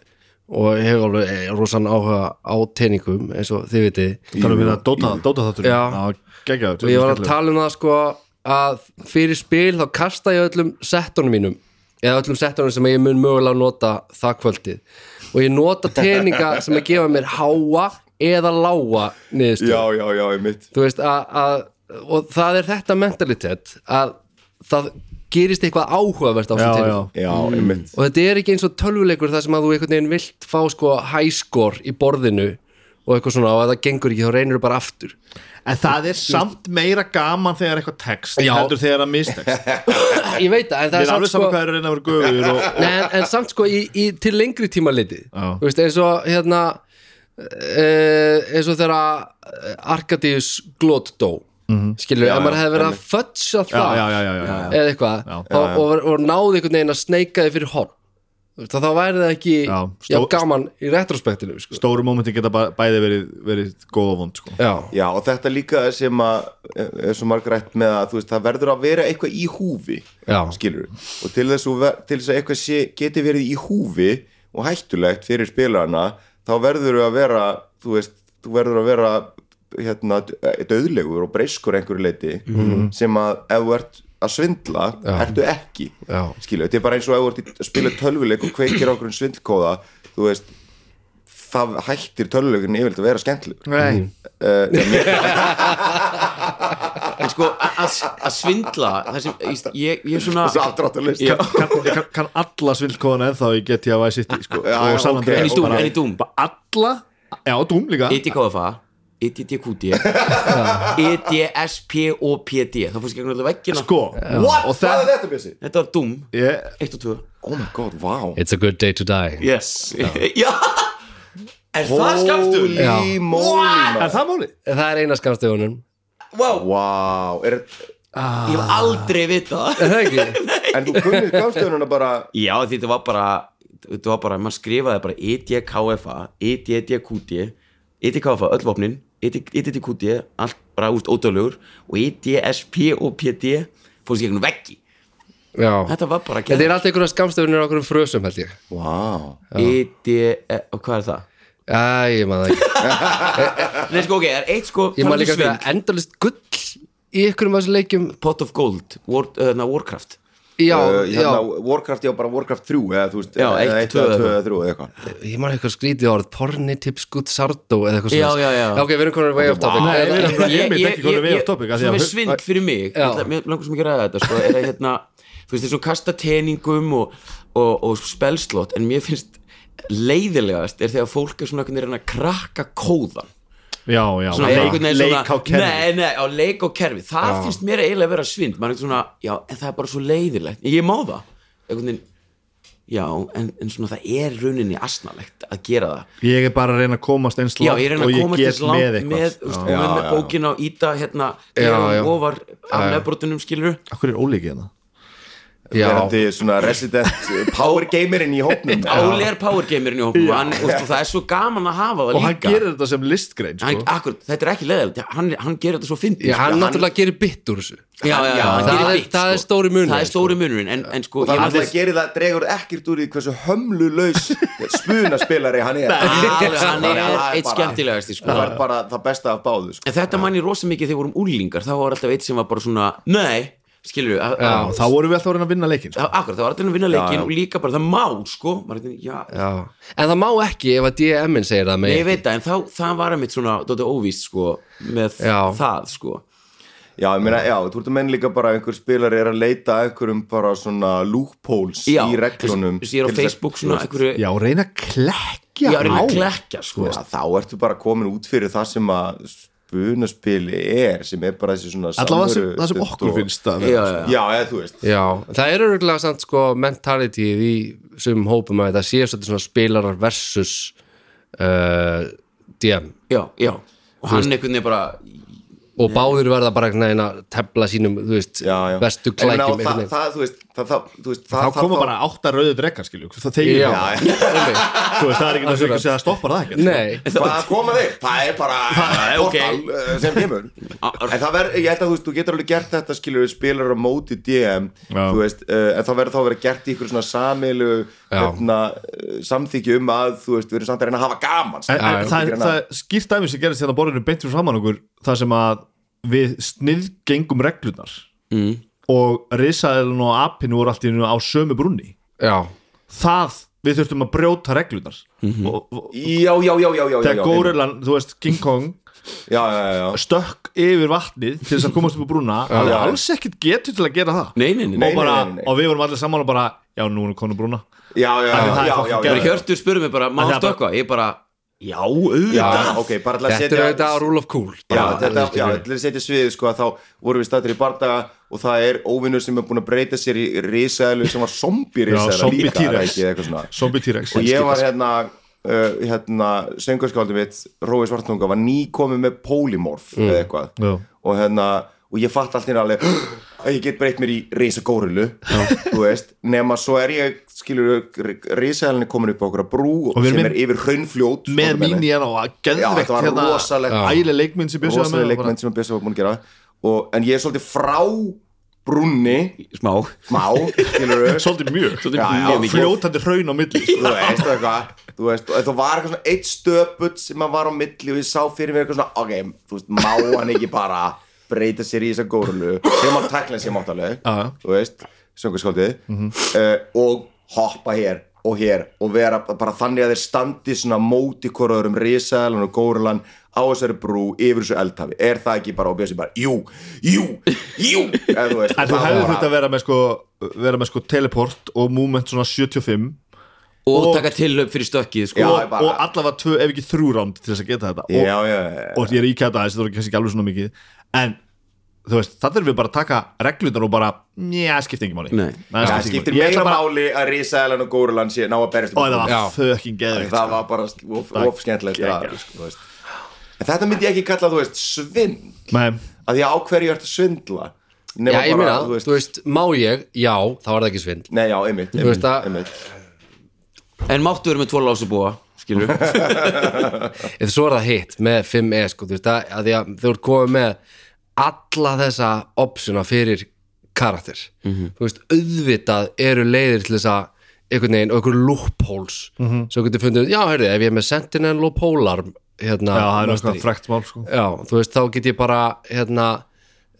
og ég hef alveg eh, rosan áhuga á teiningum eins og þið vitið
Tala um hérna Dota, Dota þáttur.
Já.
geggjaður.
og ég var að tala um það sko að fyrir spil þá kasta ég öllum settunum mínum eða öllum settunum sem ég mun mögulega nota það kvöldið og ég nota teininga sem að gefa mér háa eða lága niðurstöð
já, já, já, ég mitt
þú veist að, að og það er þetta mentalitet að það gerist eitthvað áhugavert á
Já,
þessum
já.
tilvíkum
já, ég mitt
og þetta er ekki eins og tölvuleikur þar sem að þú einhvern veginn vilt fá sko hæskor í borðinu og eitthvað svona og ef það gengur ekki þá reynir þú bara aftur
En það er samt meira gaman þegar eitthvað tekst
Já.
heldur þegar það mistekst
ég veit það, en það er
Mér er
samt
alveg saman
sko
hvað er að reyna að vera guður og,
Nei, en, en samt sko í, í, til lengri tíma liti
Já.
veist, eins og hérna eh, eins og þegar að Arkadius glót dó
Mhm.
skilur, ef maður hefði verið að fötsa
já,
það
já, já, já, já.
eða eitthvað
Já.
og, og, og, náði einhvern veginn að sneika þið fyrir horn Þú veist, að þá væri það ekki
Já,
já,
stó-
gaman í retrospektinu sko.
Stóru mómenti geta ba- bæði verið, verið góð og vond sko.
já,
Já, og þetta líka er sem að er svo margrætt með að þú veist, það verður að vera eitthvað í húfi
Já.
skilur og til þess, að ver- til þess að eitthvað sé, geti verið í húfi og hættulegt fyrir spilarana þá verður að vera þú veist, þú verður að vera hérna, döðlegur og breyskur einhverju leiti sem að ef þú ert að svindla, ertu ekki
Já.
skilur, þetta er bara eins og ef þú ert að spila tölvuleik og kveikir á okkur svindlkóða þú veist, það hættir tölvuleikurinn yfirleitt að vera skemmtilegur
Nei
En sko, að- að að svindla það sem, ég, ég er svona
þessi aftráttalist
Ah. Já.
kann, ég kann, kann alla svindkóðan ennþá í GTA Vice City sko.
Já, já,
og San
ok.
Andreas
En í
Doom,
bara-
en í E Doom.
bara alla, já Doom líka
EDKFA E EDDQD E EDSPOPD Það fórst gegnum allir veggina
sko,
What?
og
Hvað er
það
þetta, Bessi?
Þetta var Doom
ég,
1 og 2
Oh my god, wow
it's a good day to die
Yes Já Er það um? skaptum?
Já.
Holy moly
er
maður.
það máli?
það er eina skamstegunum
Wow
Wow, er,
Ég hef aldrei vitað það
er það ekki?
en þú kunnið gangstöðununa bara
Já því þetta var bara Þetta var bara, maður skrifaði bara E EDKFA EDDQD EDKFA, öll vopnin E EDDQD, allt bara úst ódöðlegur og E EDSPOPD fórst gegnum veggi
já,
Þetta var bara
þetta er alltaf einhverja skamstegunir á einhverjum frösum held ég
Wow
ED, eh, og hvað er það?
Æ, ég maður það ekki
Nei sko ok, það er eitt sko
Ég maður
talandi
líka
svindl,
fyrir endalist gull í ykkur um þessu leikjum
Pot of Gold, War, uh, na, Warcraft
Já,
Uh,
já,
hérna, Warcraft, já bara Warcraft 3 eða þú veist,
Já,
eða
eitt,
eitt,
tvö,
eða tvö,
eða
eða þrjú, eða eitthvað
ég maður eitthvað skrítið orð Pornitips gutt sardó eða eitthvað
Já,
svoleiðis.
já, já.
Ok, við erum komin way off topic
Nei, við erum bara einmitt ekki komin við á topic, af því
Sem
að-
er svind fyrir mig Ég
Já.
ætla- Mér langar sem ekki að ræða þetta sko, er að hérna Þú veist þessu kasta teningum og, og, og spelslott En mér finnst leiðilegast er þegar fólk er svona einhvern veginn að krakka kóðan
já, já,
svona, er
leik,
einhvern veginn
leik á
svona-
kerfi
Nei, nei, á leik á kerfi Það finnst mér eiginlega að vera svind Maður er svona, já, en það er bara svo leiðilegt Ég má það einhvern veginn Já, en, en svona það er rauninni asnalegt að gera það
ég er bara að reyna að komast eins
Já,
langt
ég reyna
og
að
ég
komast
get
eins langt
með
með, með
eitthvað
úst,
Já.
og með, með
já.
bókin á Íta hérna,
Já, já.
gerum ofar af
Já, já.
nefbrotunum skilur
af hverju er ólíkið hérna?
Já,
verandi svona resident eh, power gamerinn í hópnum
Áli er powergamerinn í hópum og, hann, úst, og það er svo gaman að hafa það
og hann
líka
gerir þetta sem listgrein sko.
hann, akkur, Þetta er ekki leðilegt, hann, hann gerir þetta svo fyndið
já
sko,
hann náttúrulega gerir bytt úr þessu
já, já, já, hann
það
gerir
er-
hitt,
það er
sko.
stóri munurinn,
Það er stóri munurinn, en, en sko
og það
ég
er alltaf
náttúrulega-
að gera það dregur ekkert úr því hversu hömlulaus spunaspilari hann er
Alveg, hann
Þannig að
er
það
eitt
bara-
skemmtilegasti sko.
það er bara það besta af báðu sko.
en þetta mann ég rosa mikið þegar við vorum úlingar þá var alltaf eitt sem var bara svona nei, skilur við
Já, þá vorum við alltaf að reyna að vinna leikin sko.
akkurat, það var alltaf að vinna leikin og líka bara það má sko, maður eitthvað, já
Já, en það má ekki ef að DM-in segir það
Nei, ég
með
veit það, en þá, það var einmitt svona Dóttir óvíst, sko, með
Já.
það, sko
já, ég meina, já, þú ert að menn líka bara að einhver spilari er að leita að einhverjum bara svona loopholes
Já,
í reglunum
Þess- þess- Ég er á
til þess að-
Facebook svona einhverju,
já, og reyna að klekja
ég er að reyna
á.
að klekja, sko
Já, þá ertu bara komin út fyrir það sem að spunaspili er sem er bara þessi svona
allavega það sem,
samveru-
það sem okkur
og-
finnst að
Já,
vera
já, já.
Já, eða þú veist
Já, það er örgulega samt sko mentalityð í sumum hópum að það sé svolítið svona spilarar versus uh, DM
já, já Og hann einhvern veginn bara
og báður verða bara einhvern veginn að tefla sínum, þú veist,
já, já.
bestu
En á,
klækjum
það,
einhvern veginn.
það, þú veist, það, það, þú veist, það,
þá
það-
koma
það-
bara átta rauðu drekar skilju það þegir
Já,
það
einmitt.
Þú veist, það er ekki næstu ekki að segja að stoppar það ekki
Nei,
Hvað koma þig? Það er bara
er ok.
portal eh, sem kemur En það verður, ég held að þú veist, þú getur alveg gert þetta skilur við spilar á móti DM
Já.
þú veist, eh, en það verður þá að vera gert í ykkur svona samilu
Já.
hérna, eh, samþykju um að þú veist, við erum samt að reyna að hafa gaman
En, en
já.
það, er- það er skýrt dæmi sem gerist hérna á borðinu beint fyrir framann okkur það sem að við sniðgengum reglunar
mm,
og risaðilun og apinu voru allt í einu á sömu brunni
já,
það við þurftum að brjóta reglunar
Mhm.
og, og
Já, já, já, já, já, já,
þegar
já,
górilan, þú veist King Kong
já, já, já, já.
stökk yfir vatnið til þess að komast upp á brúna hann er alls ekkert getur til að gera það
Nei, nei, nei, nei
og, bara,
nei, nei, nei.
og við vorum allir saman og bara já, nú erum konu brúna
já, já, já,
Það er
já,
fucking
já, já,
geðveikt.
já.
Hjörtur spurði mig bara, má
Það er bara-
stökkva Ég bara, já, auðvitað
já, ok, bara til að
Þetta er
setja
auðvitað rule of cool
Já,
Bara,
þetta,
skilur
já,
við.
þetta er setja sviðið sko að þá vorum við stattir í bardaga og það er óvinnur sem er búin að breyta sér í risaðlu sem var zombie
Já,
risaðlu
zombie
líka, það er
T-Rex.
ekki eitthvað svona
Zombie T-Rex
og ég var hérna uh, hérna, söngurskáldi mitt Rói Svartunga var nýkomið með polymorf eða eitthvað
Mm. Já.
og hérna, og ég fatt allt hérna alveg að ég get breytt mér í risagórilu þú veist, nema svo er ég skilur, risaðlunni komin upp á okkur að brú
Og við erum
sem er
með-
yfir hraunfljót
með
notabene.
mínjan og að
Já,
geðvegt
þetta var
hérna,
rosalegt.
ægileg leikmynd sem bjössu
rosalega leikmenn sem að Bjössi var búin að gera og, en ég er svolítið frá brunni
smá
má, skilur við
svolítið mjög,
Já, já,
mjög
mikið.
fljótandi hraun á milli sko.
þú veist og eitthvað þú veist, og það var eitthvað svona eitt stöput sem að var á milli og ég sá fyrir mér eitthvað svona ok, þú veist, má hann ekki bara breyta sér í þessa górulu sem hann tækla sem áttaleg
Já, já.
þú veist, söngarskóldið uh, og hoppa hér og hér og vera bara þannig að þeir standi svona móti korður um risaðalan og górulan á þessari brú yfir þessu eldhafi er það ekki bara og bjössi bara jú, jú, jú en þú, veist,
en þú
það
hefði
var-
þurft að vera með sko, vera með sko teleport og movement svona 75
og
Og-
taka tilhaup fyrir stökkið sko.
Já,
og,
bara-
og allavega tvö ef ekki þrjú ránd til þess að geta þetta og,
já, já, já, já.
og ég er íkjæða þetta aðeins, þetta voru kannski ekki alveg svona mikið en þú veist, það þurfum við bara að taka reglunar og bara, njá, skiptir ekki máli
Nei.
það
ekki
skiptir
máli. Ég
meira
ætla bara-
máli að risaðalan og górulan sé ná að
og
berjast
það
um
Já.
var fucking geðvikt
það var bara of, of skemmtilegt
geggjað.
að- sko, þú veist. en þetta myndi ég ekki kalla þú veist svindl,
sko. Nei,
að því á hverju ertu að svindla
Já,
Nema
ég meina,
bara,
þú veist, má ég, já, þá er það ekki svindl
Nei, já, einmitt,
Þú
einmitt,
veist að-
einmitt.
en máttu verið með tvo lásubúa skilur
eða svo er það hitt með 5e sko, þú veist að, að því að þú ert komið með alla þessa opsuna fyrir karakter þú veist, auðvitað eru leiðir til þess að einhvern veginn og einhvern loopholes svo getur fundið, já, heyrðu, ef ég er með sentinel og polar hérna,
já, það er
mastery.
náttúrulega frækt mál sko.
já, þú veist, þá get ég bara hérna,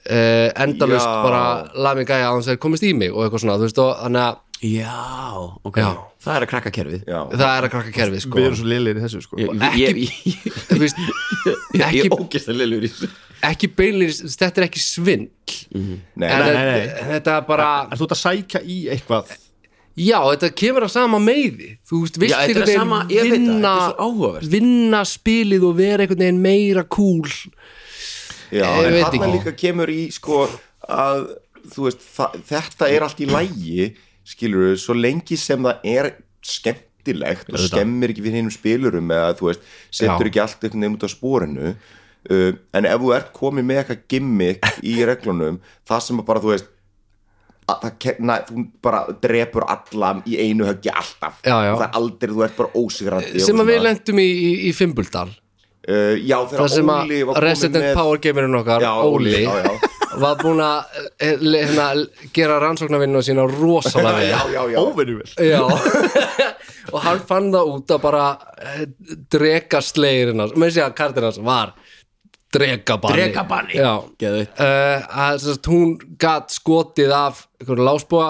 uh, endalust
Já.
bara lami gæja að hans er komist í mig og eitthvað svona, þú veist, og þannig að
já, ok
Já.
það er að krakka kerfið
Já.
það er að krakka kerfi, sko
við erum svo liðlir í þessu sko.
ég,
Ekki-
ég, ég,
Þú veist,
ég,
ekki
ég ógist að leilur í þessu
ekki beinlega, þetta er ekki svindl
Mm.
Nei,
en
nei, nei.
þetta- þetta er bara
en þú ert að sækja í eitthvað
já, þetta kemur að sama meiði þú veist, vilt
Já, þetta er
einhvern
að sama- ég veit það,
veginn vinna,
þetta er svo áhugavert.
vinna spilið og vera einhvern veginn meira cool
já,
Ég
en
veit
þarna
ekki.
líka kemur í sko að þú veist, þa- þetta er allt í lægi skilur við, svo lengi sem það er skemmtilegt og skemmir ekki við hinnum spilurum eða þú veist, setur
Já.
ekki allt einhvern veginn út af spórinu uh, en ef þú ert komið með eitthvað gimmick í reglunum, það sem að bara þú veist að það ke- na, þú bara drepur alla í einu höggi alltaf
Já, já.
það er aldrei, þú ert bara ósigrandi
sem að við lendum í, í, í Fimbuldal
uh, já,
þar sem að
Óli var kominn
Resident
með-
Power gamerinn okkar,
Já,
Óli
Óli, já, já.
var búin að eh, le- hérna, gera rannsóknarvinnu sína rosalega vel
já, já, já.
óvenjuvel
Já og hann fann það út að bara eh, drekaslegirinn hans með sér að kartinn hans var drekabanni
Drekabanni.
Já,
Geðveikt.
Eh, að sem sagt, hún gat skotið af einhverju lásbúa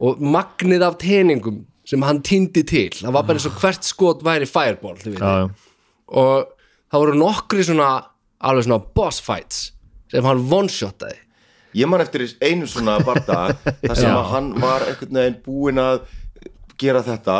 og magnið af teningum sem hann týndi til það var bara eins og hvert skot væri fireball þið vitið.
já, já.
og það voru nokkri svona alveg svona boss fights sem hann one-shotaði
Ég man eftir einu svona barda þar sem
Já.
að hann var einhvern veginn búinn að gera þetta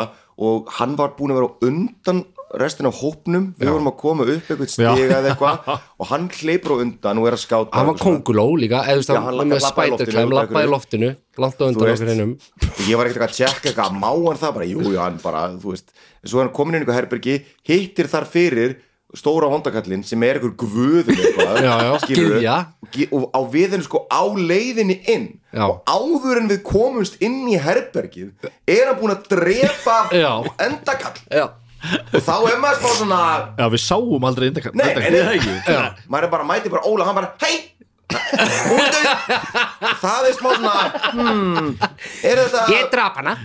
og hann var búinn að vera á undan restin af hópnum, við vorum að koma upp eitthvað stiga eða eitthvað og hann hleypur á undan og er að skáta
hann var
og svona.
konguló líka eða þú veist
Já,
hann
hann
var með
labbaði í loftinu,
spiderclimb
út af
lappaði í
einhverju.
loftinu langt á undan
veist.
okkur hinnum
og ég var ekkert eitthvað að tjekka eitthvað má hann það bara, jú, jú, hann bara, þú veist svo er hann komin inn í eitthvað herbergi, hittir þar fyrir stóra hóndakallin sem er einhver guðum eitthvað
Já, já,
skilurðu,
gyðja.
og ge- og á viðinu sko á leiðinni inn
Já.
og áður en við komumst inn í herbergið er hann búin að drepa
Já.
endakall
já
og þá er maður spá svona
já, við sáum aldrei indakar
nei, nei, nei,
Já.
maður er bara mæti bara Óla, hann bara, hei hún er dauð." það er smá svona hmm, er þetta
Ég draf hana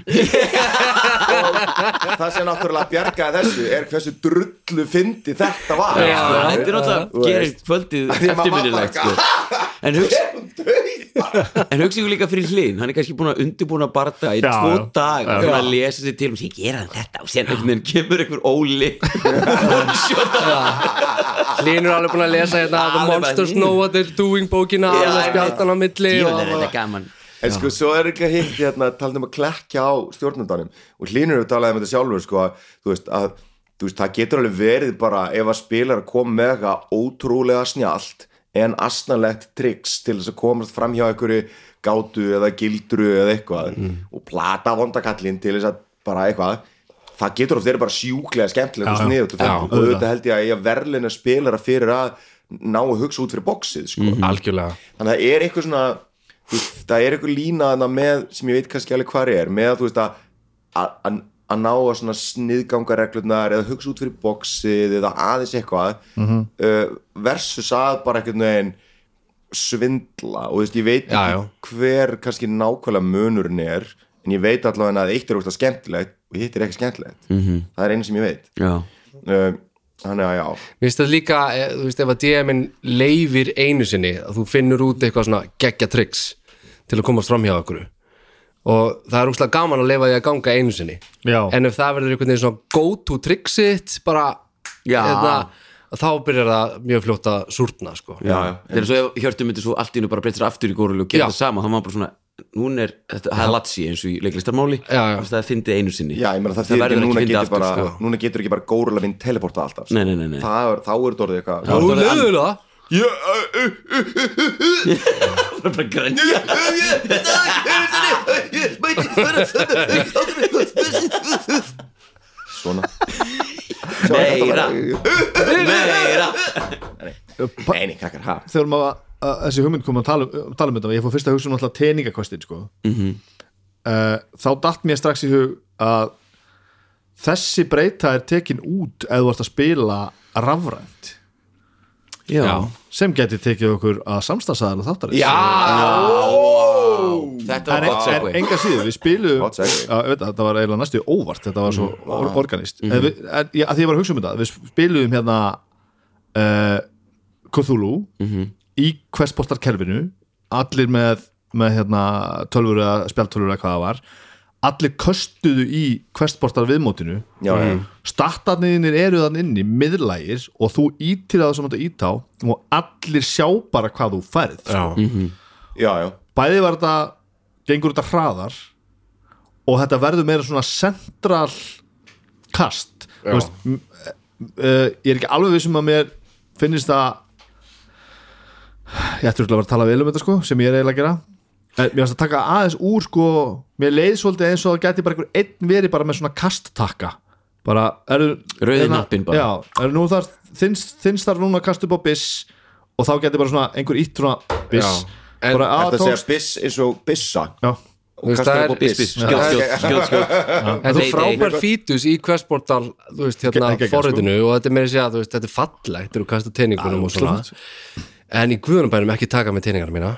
og það sem náttúrulega bjargaði þessu er hversu drullu fyndi þetta var
Já, þetta er náttúrulega
Þú
gerir
veist. Því
kvöldið
maður var
eftirminnilegt
bara-
sko. en hugsa
Hún dauð bara.
En hugsa ykkur líka fyrir hlinn, hann er kannski búin að undirbúna barða í
Já,
tvo
já.
dag og
Já.
búin að lesa sér til og sér gera hann þetta og sér einhvern veginn kemur einhver óli Bullshot.
Línur er alveg búin að lesa hérna The
Alveg bara-
Monsters Know What They're Doing bókina
Já,
alveg spjaldan á milli
Djöfull
og-
er þetta gaman
en sko svo er ekki hitt hérna, talað um að klekja á stjórnundanum og hlýnur við talaði um þetta sjálfur sko að, þú veist að þú veist, það getur alveg verið bara ef að spilar kom með eitthvað ótrúlega snjált en asnalegt triks til þess að komast fram hjá einhverju gátu eða gildru eða eitthvað og plata vondakallin til þess að bara eitthvað það getur oft verið bara sjúklega skemmtilegt og
Já, já.
sniðut
Já,
og þetta og auðvitað held ég að ég verðlina spilara fyrir að ná að hugsa út fyrir boxið sko.
algjörlega
þannig að það er eitthvað svona þú veist, það er eitthvað lína þarna með sem ég veit kannski alveg hvað er með að þú veist að að- að að ná að svona sniðganga reglurnar eða hugsa út fyrir boxið eða aðeins eitthvað
Mhm.
uh, versus að bara einhvern veginn svindla og þú veist ég veit ekki
Já, já.
hver kannski nákvæmlega munurinn er en ég veit allavega að eitt er úrst að skemmtilegt og hitt er ekki skemmtilegt
Mhm.
-hmm. það er einu sem ég veit
já,
uh, þannig að já
Mér finnst það líka, eh, þú veist, ef að DM-in leifir einu sinni að þú finnur út eitthvað svona geggja tricks til að komast fram hjá okkur og það er úrslega gaman að leifa því að ganga einu sinni
Já.
en ef það verður einhvern veginn svona go to tricksitt bara hérna,
Já.
þá byrjar það mjög fljótt að súrna sko.
já, já. þegar svo ef Hjörtur myndi svo allt í hennu bara breytta sér aftur í górulu og
Já.
gera það sama, hann var bara svona Nún er, þetta það er latsi eins og í leiklistarmáli
Já, já.
Þú veist, það er fyndið einu sinni
Já, ég meina það þýðir ekki
verður
að núna
fyndið
getur
aftur,
bara
sko.
núna getur ekki bara górulega vinn teleporta alltaf
Nei, nei, nei, nei.
Það er, þá er þetta orðið eitthvað
Þú leiður það
Það er bara grænja
svona
Meira Meira
Nei, nei, krakkar, ha
þegar maður að, að þessi hugmynd kom að tala, um- tala um þetta ég fór fyrst að hugsa um alltaf teningakostin sko. mm þá datt mér strax í hug að þessi breyta er tekin út ef þú ert að spila rafrænt
Já,
sem geti tekið okkur að samstagsæðala þáttarins
þetta
en, en,
var gott
en
segvei
enga síður, við spilum
Gott segway.
Já, ég veit, að þetta var eiginlega næstu óvart þetta var svo or organist mm við, en, já, að því ég var að hugsa um þetta, við spilum hérna uh, Cthulhu í hversportarkerfinu allir með, með hérna, tölvur eða spjaltölvur eða hvað það var allir köstuðu í hversportar viðmótinu
Já, já.
startarniðinir eru þann inni miðlægir og þú ítir að það sem þetta ítá og allir sjá bara hvað þú færð sko
Já, já,
bæði var þetta gengur þetta hraðar og þetta verður meira svona central kast Þú veist, m- eh, ég er ekki alveg vissum að mér finnist það ég ætti örugglega að vera að tala við um þetta sko sem ég er eiginlega að gera en mér varst að taka aðeins úr sko mér leið svolítið eins og það geti bara einhver einn verið bara með svona kasttakka bara eru
Rauði
hérna-
hnappinn bara.
já, eru nú þar þinnst þinnst þar núna að kasta upp á biss og þá geti bara svona einhver ítt svona biss
Já. En
bara að
þetta segja
tókst
biss eins og bissa
Já.
Þú veist,
kastar
það
upp á
er-
Biss, biss, skjótt, skjótt, skjótt, skjótt
Þetta er
Nei,
frábær fítus í hversportal þú veist, hérna
Ekki- ekki- ekki,
forritinu og þetta er meira að segja, þú veist, þetta er fallegt þegar þú kastar teiningunum og svona en í guðunabænum ekki taka með teiningar mína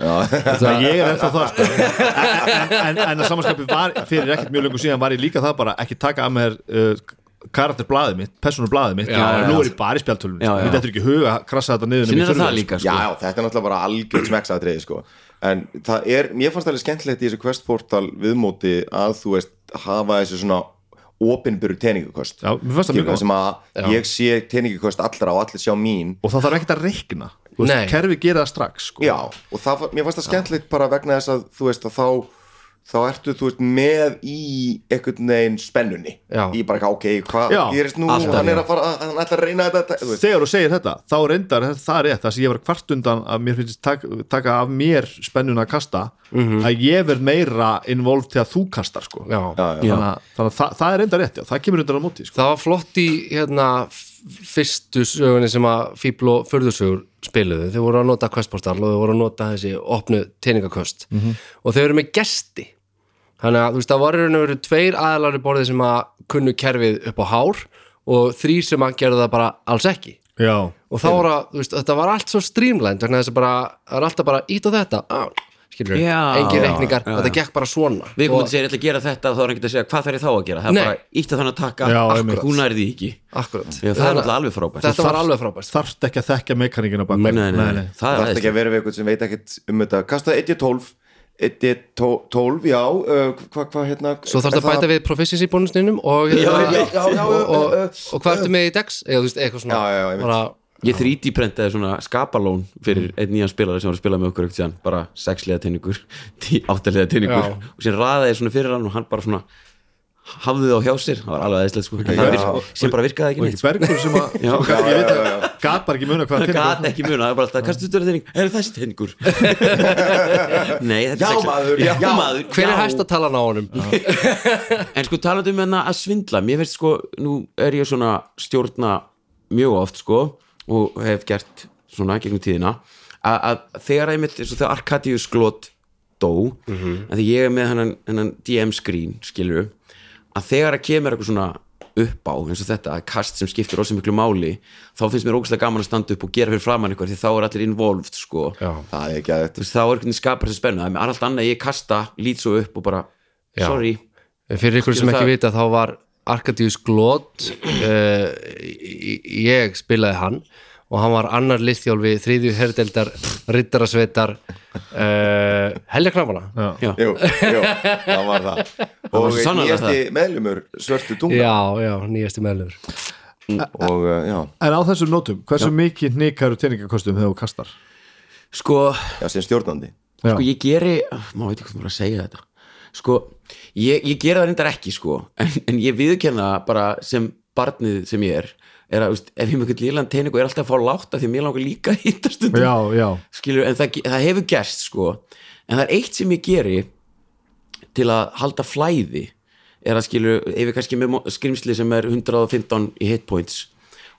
Það ég er ennþá það sko. en, en, en að samanskapi var fyrir ekkert mjög lengur síðan var ég líka það bara ekki taka að mér uh, karakterblaðið mitt, personublaðið mitt
Já, já, já.
nú er ég bara í spjaltölunum
Já,
sko.
já.
mér dettur ekki í hug að krassa þetta niður
Sinnir
nema ég
það
þurfi,
Já,
líka sko
já, þetta er náttúrulega bara algjörn smeksaðatriði sko. en það er, mér fannst alveg skemmtilegt í þessu questportal viðmóti að þú veist hafa þessu svona opinbyrju teiningakost
Já, mér fannst það mjög gott.
sem að ég sé teiningakost allra og allir sjá mín
sko. og það þarf ekkert að reikna Þú
Nei.
veist, kerfi gera það strax sko.
Já, og það, var- mér fannst það skemmtilegt bara vegna þess að þú veist að þá þá ertu, þú veist, með í einhvern veginn spennunni
Já.
í bara, eitthvað, ok, hvað
Já,
gerist nú
alltaf,
hann er
já.
að fara, hann ætlar að reyna þetta þú veist,
þegar þú segir þetta, þá reyndar það er rétt það sem ég var kvart undan að mér finnst tak, taka af mér spennuna að kasta að ég verð meira involvd þegar þú kastar sko.
Mhm. Já.
já, já,
þannig að, þannig að það, það er reyndar rétt já. það kemur undan á móti sko.
Það var flott í hérna f- fyrstu sögunni sem að Fíbl og Furðursögur spiluðu, þau voru að nota questportal og þau voru að nota þessi opnu teiningaköst
Mhm.
og þau eru með gesti þannig að þú veist, það voru raun og veru tveir aðalari borðið sem að kunnu kerfið upp á hár og þrýr sem að gera það bara alls ekki
Já,
og þá var að, þú veist, þetta var allt svo streamlined vegna þess að bara, það er alltaf bara ít á þetta á, skilur,
Já,
engin
já,
reikningar
já,
þetta
já.
gekk bara svona
Við komum
og,
til að segja, ég ætla að gera þetta og þá er ekki að segja hvað þarf ég þá að gera Það
Nei.
er bara ítt að þannig að taka
Já,
akkurat,
einmitt.
Hún er því ekki
akkurat,
Já, það er
Þannig að
náttúrulega alveg frábært
þetta var alveg frábært
þarft ekki að þekka mekaníkina bak
Nei, nei, nei, það
það er
er
ekki
aðeins
að vera við eitthvað sem veit ekkert um þetta kastaði 1-12 1-12, já, uh, hvað, hvað, hérna
svo þarfst að bæta við proficiency bónusninum og,
Já,
og,
einmitt.
Já, já,
og, og,
já, já.
og hvað ertu með í DEX eða þú veist, eitthvað svona
Já, já, já, einmitt.
bara,
Ég 3D prentaði svona skapalón fyrir einn nýjan spilari sem var að spila með okkur ekkert síðan bara sexlega teiningur, áttalega teiningur
Já.
og sér raðaði ég svona fyrir hann og hann bara svona hafði þá hjá sér, það var alveg aðeinslega sko. Það
Já.
virk- sem bara virkaði ekki
og
neitt sko.
ekki bergur sem að
Já.
sem gat- ég veit að gat bara ekki muna hvað
það
peningur-
gat ekki muna, það var bara alltaf kastu tölur þinning, er þessi teiningur nei, þetta er
Já,
sexy.
maður,
já,
já.
maður
hver
já.
er hæsta talan á honum
en sko talandi um hérna að svindla mér finnst sko, nú er ég svona stjórna mjög oft sko og hef gert svona gegnum tíðina að, að þegar einmitt eins og þegar Arkadius glót dó mm
Mhm.
því ég er með hennan, hennan DM screen skilur að þegar að kemur eitthvað svona upp á eins og þetta, að kast sem skiptir rosa miklu máli, þá finnst mér ógæslega gaman að standa upp og gera fyrir framann eitthvað því þá er allir involved sko
já,
það er ekki að
Þú veist, þá er einhvern veginn skapar þessi spenna, það er allt annað ég kasta, lít svo upp og bara
Já.
sorry,
fyrir ykkur sem
Skilur
ekki
það-
vita þá var Arkadius Glót uh, ég spilaði hann og hann var annar listjálfi þriðju herdeldar, riddarasveitar uh, helja knafana
Já.
já,
Jú, jú, það var það
var
Og
svo sannarlega
nýjasti meðlumur svörtu tunga
já, já, nýjasti meðlefur
Og uh, já,
en á þessum nótum, hversu mikið nýkaru teiningakostum þegar þú kastar
sko
já, sem stjórnandi
Já.
sko ég geri maður veit ekki hvað maður að segja þetta sko ég, ég geri það reyndar ekki sko en, en ég viðurkenna bara sem barnið sem ég er er að veist, ef ég með eitthvað lílan teining og er alltaf að fá láta því að mér langar líka að hitta stundum
já, já,
skilur, en það, það hefur gerst sko en það er eitt sem ég geri til að halda flæði er að skilur, ef ég kannski með mo- skrimsli sem er 115 í hit points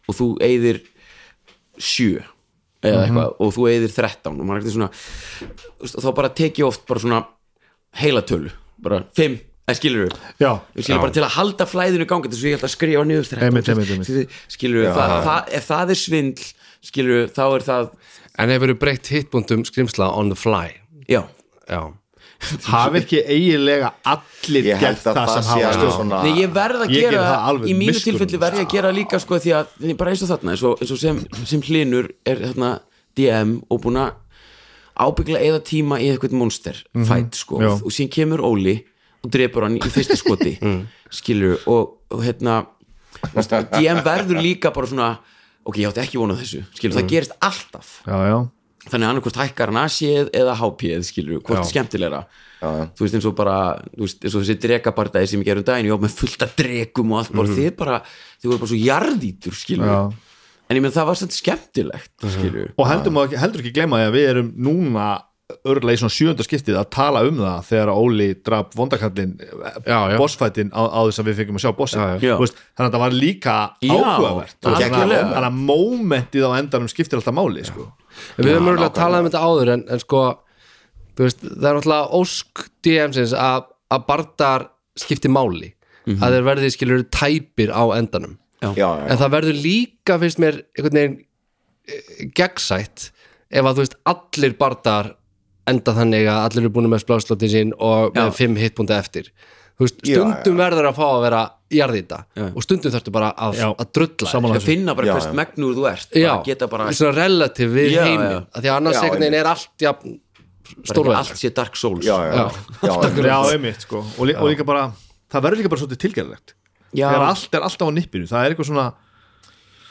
og þú eyðir 7
Mhm.
eða eitthvað og þú eyðir 13 og maður er ekkert svona þú veist, þá bara teki ég oft bara svona heila tölu, bara 5 eða skilur við
já,
Ég skilur bara til að halda flæðinu gangi þess að ég held að skrifa niður 13,
Einmitt, einmitt, einmitt.
skilur- skilur við, það, það, ef það er svindl skilur við, þá er það
en hefur breytt hittbúndum skrimsla on the fly
já,
já,
hafi ekki eiginlega allir
Ég held
gert
að
það,
það
sem
sé
hafa
alveg
stjórn
svona
Nei, ég verð að
Ég
gera
geri það alveg
í mínu
miskunnarlaust.
tilfelli verð ég að gera líka sko því að, nei, bara eins og þarna eins og, eins og sem, sem hlinur er þarna DM og búin að ábyggla eða tíma í eitthvað monster fight sko
Mhm. já.
og síðan kemur Óli og drepur hann í fyrsta skoti
Mm.
skilur og, og hérna þú veist, DM verður líka bara svona ok, ég átti ekki vona þessu skilur,
Mm.
það gerist alltaf
já, já,
þannig annarkvort hækkar hann asið eða hápið skilur, hvort er skemmtilegra já. þú veist eins og bara, þú veist eins og þessi dregabardæði sem ég gerum daginn, ég á með fullt af dregum og allt, bara þið bara þið voru bara svo jarðítur skilur
Mhm. já Mhm.
en ég menn það var svolítið skemmtilegt skilur,
og heldur, maður, ekki- heldur ekki gleyma því að við erum núna örlega í svona sjönda skiptið að tala um það þegar Óli draf vondakallin
Já, já.
bossfætin á, á þess að við fengum að sjá bossin
Já,
já.
Þú veist, þannig að það var líka
Já,
áhugavert Þú veist, þannig
algjörlega.
að- þannig að mómentið á endanum skiptir alltaf máli sko.
En við höfum mörgulega að tala um þetta áður en, en sko, þú veist, það er náttúrulega ósk DM-sins að, að bardar skipti máli að þeir verði skilur tæpir á endanum
Já, já,
en það verður líka, finnst mér einhvern veginn eh, gegnsætt ef að þú veist, allir bardar enda þannig að allir eru búin með spláslótin sín og
Já.
með fimm hitbúnda eftir þú veist,
Já,
stundum verður að fá að vera jarðita
Já.
og stundum þarftu bara að,
Já.
að drulla þér.
Sammála
að finna bara
Já,
hvers
já.
megnur þú ert
já,
bara geta bara,
svona relativ við
Já,
heiminn
já.
að því að annars
Já,
einhvern veginn er allt ja,
bara
stórvæðis
allt sé Dark Souls
já, já, já, já,
já, einmitt sko. og, lí, og líka bara, það verður líka bara svolítið tilgjörlegt
Já.
þegar allt er alltaf á nippinu það er eitthvað svona,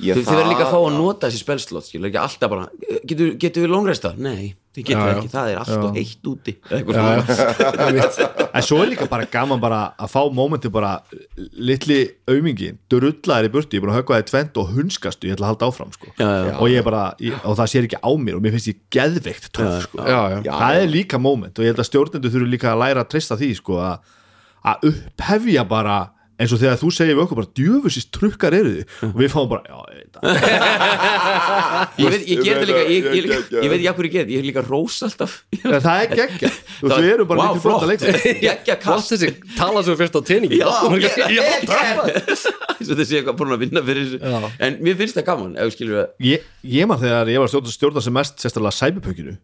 Ég
Þið, þið verður líka að fá
það-
að nota þessi spelslót skilur, ekki alltaf bara, getur, getur við longresta? Nei, þið getur
Já, já.
ekki, það er allt og eitt úti Eitthvað svona.
en svo er líka bara gaman bara að fá mómentið bara litli aumingi, drullaðir í burtu ég er búin að höggva þið tvent og hunskastu ég ætla að halda áfram sko.
Já, já, já.
og ég er bara, ég, og það sér ekki á mér og mér finnst ég geðveikt töf sko.
já, já.
Já,
það er líka moment og ég held að stjórnendur þurfi líka að læra að treysta því sko, að- að upphefja bara eins og þegar þú segir við okkur bara djöfusist trukkar eru þið og við fáum bara, já, ég veit það
ég veit, ég ger það líka ég, ég, ég,
Já, já, já.
ég veit ekki af hverju ég ger það, ég er líka rós alltaf
En það er geggja Þú veist, við erum bara miklu flott að leiksa
Gekkja
Allt
kast
þessi tala svo fyrst á teiningi
Já, ég-
já,
ég- Svo þessi eitthvað búin að vinna fyrir þessu En mér finnst það gaman ef við skilur að
Ég, ég man þegar ég var að stjórna, stjórna sem mest sérstaklega sæbipökinu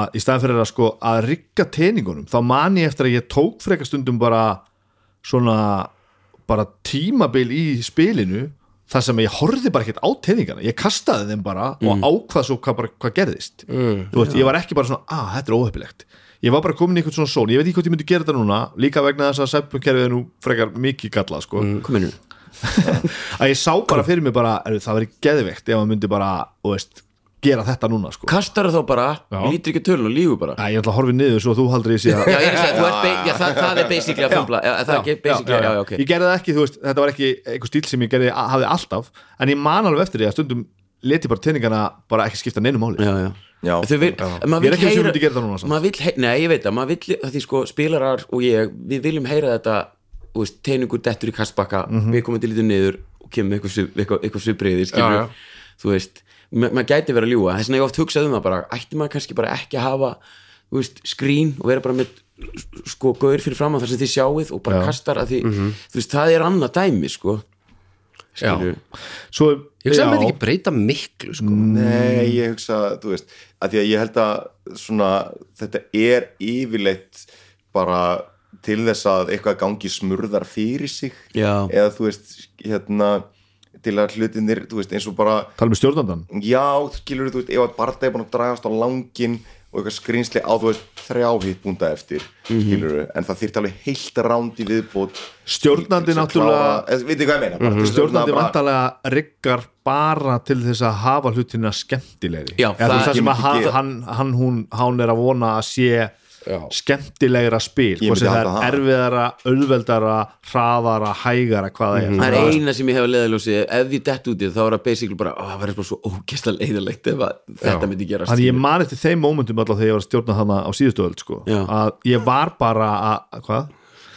að í staðan fyrir að sko að rigga teiningunum þá man ég eftir að ég tók frekar stundum bara svona bara tímabil í spilinu þar sem ég horfði bara ekkert á teiningana ég kastaði þeim bara og ákvað svo hvað, bara, hvað gerðist mm, veist, ég var ekki bara svona, að þetta er óheppilegt ég var bara komin í eitthvað svona són, ég veit ekki hvort ég myndi gera þetta núna líka vegna þess að sæbipökerfið er nú frekar mikið gallað sko
Kominu
að ég sá bara fyrir mig bara er, það verið geðveikt ef maður myndi bara þú veist, gera þetta núna sko.
kastar þá bara,
Já.
lítur ekki tölun og lífu bara
Æ, ég ætla að horfa niður svo að þú haldur í síðan
já, ég er að segja, þú ert, ba- já, það, það er basically að fumbla, já, það er ekki basically, já, já, ok
ég gerði það ekki, þú veist, þetta var ekki einhver stíl sem ég gerði, hafði alltaf en ég man alveg eftir því að stundum leti bara teiningana bara ekki skipta neinu máli
já, já
Já.
Þau vil, maður
Ég er
vill
ekki viss um
heyra-
myndi gera það núna, samt.
maður vill, hei- nei ég veit það, maður vill það því sko spilarar og ég, við viljum heyra þetta þú veist, teiningur dettur í kastbakka
Mhm.
við komum til lítið niður og kemum með eitthvað svip- eitthvað, eitthvað svipriði skilur,
Já, já.
þú veist, ma maður gæti verið að ljúga þess vegna ég oft hugsaði um það bara, ætti maður kannski bara ekki að hafa, þú veist, skrín og vera bara með sko gaur fyrir fram að það sem þið sjáuð og bara kastar að því,
Mhm.
þú veist, það er annað dæmi sko,
Já.
skilur
svo,
Ég hugsa að
já,
það myndi ekki breyta miklu sko.
Mm. Nei, ég hugsa, þú veist að því að ég held að svona, þetta er yfirleitt bara til þess að eitthvað gangi smurðar fyrir sig
Já.
eða þú veist, hérna til að hlutinir, þú veist, eins og bara
tala um með stjórnandan
já, skilur þú veist, ef að barða er búin að dragast á langin og eitthvað skrýnsli á, þú veist, þrjá hitt búnda eftir, mm en það þýrt alveg heilt ránd í viðbót
Stjórnandi
til þess að
náttúrulega-
klára- Eh, veitir hvað ég meina, mm
stjórnandi vantarlega riggar bara til þess að hafa hlutina skemmtilegri
Já,
Eða, þú
það-
veist, það
ég
sem að
myndi
hann,
gera-
hann, hann, hún, hann er að vona að sé skemmtilegra spil
Ég
hvort sem
myndi
það
halda
er
það.
erfiðara, auðveldara hraðara, hægara, hvað það er
það er eina sem ég hef að leiðaljósi ef ég dett út í það, þá er það basically bara "Ó, það verður bara svo ógæsta leiðilegt ef að þetta myndi gerast
Þannig ég man eftir þeim mómentum alltaf þegar ég var að stjórna hana á síðustu öld sko.
Já.
að ég var bara að, hvað?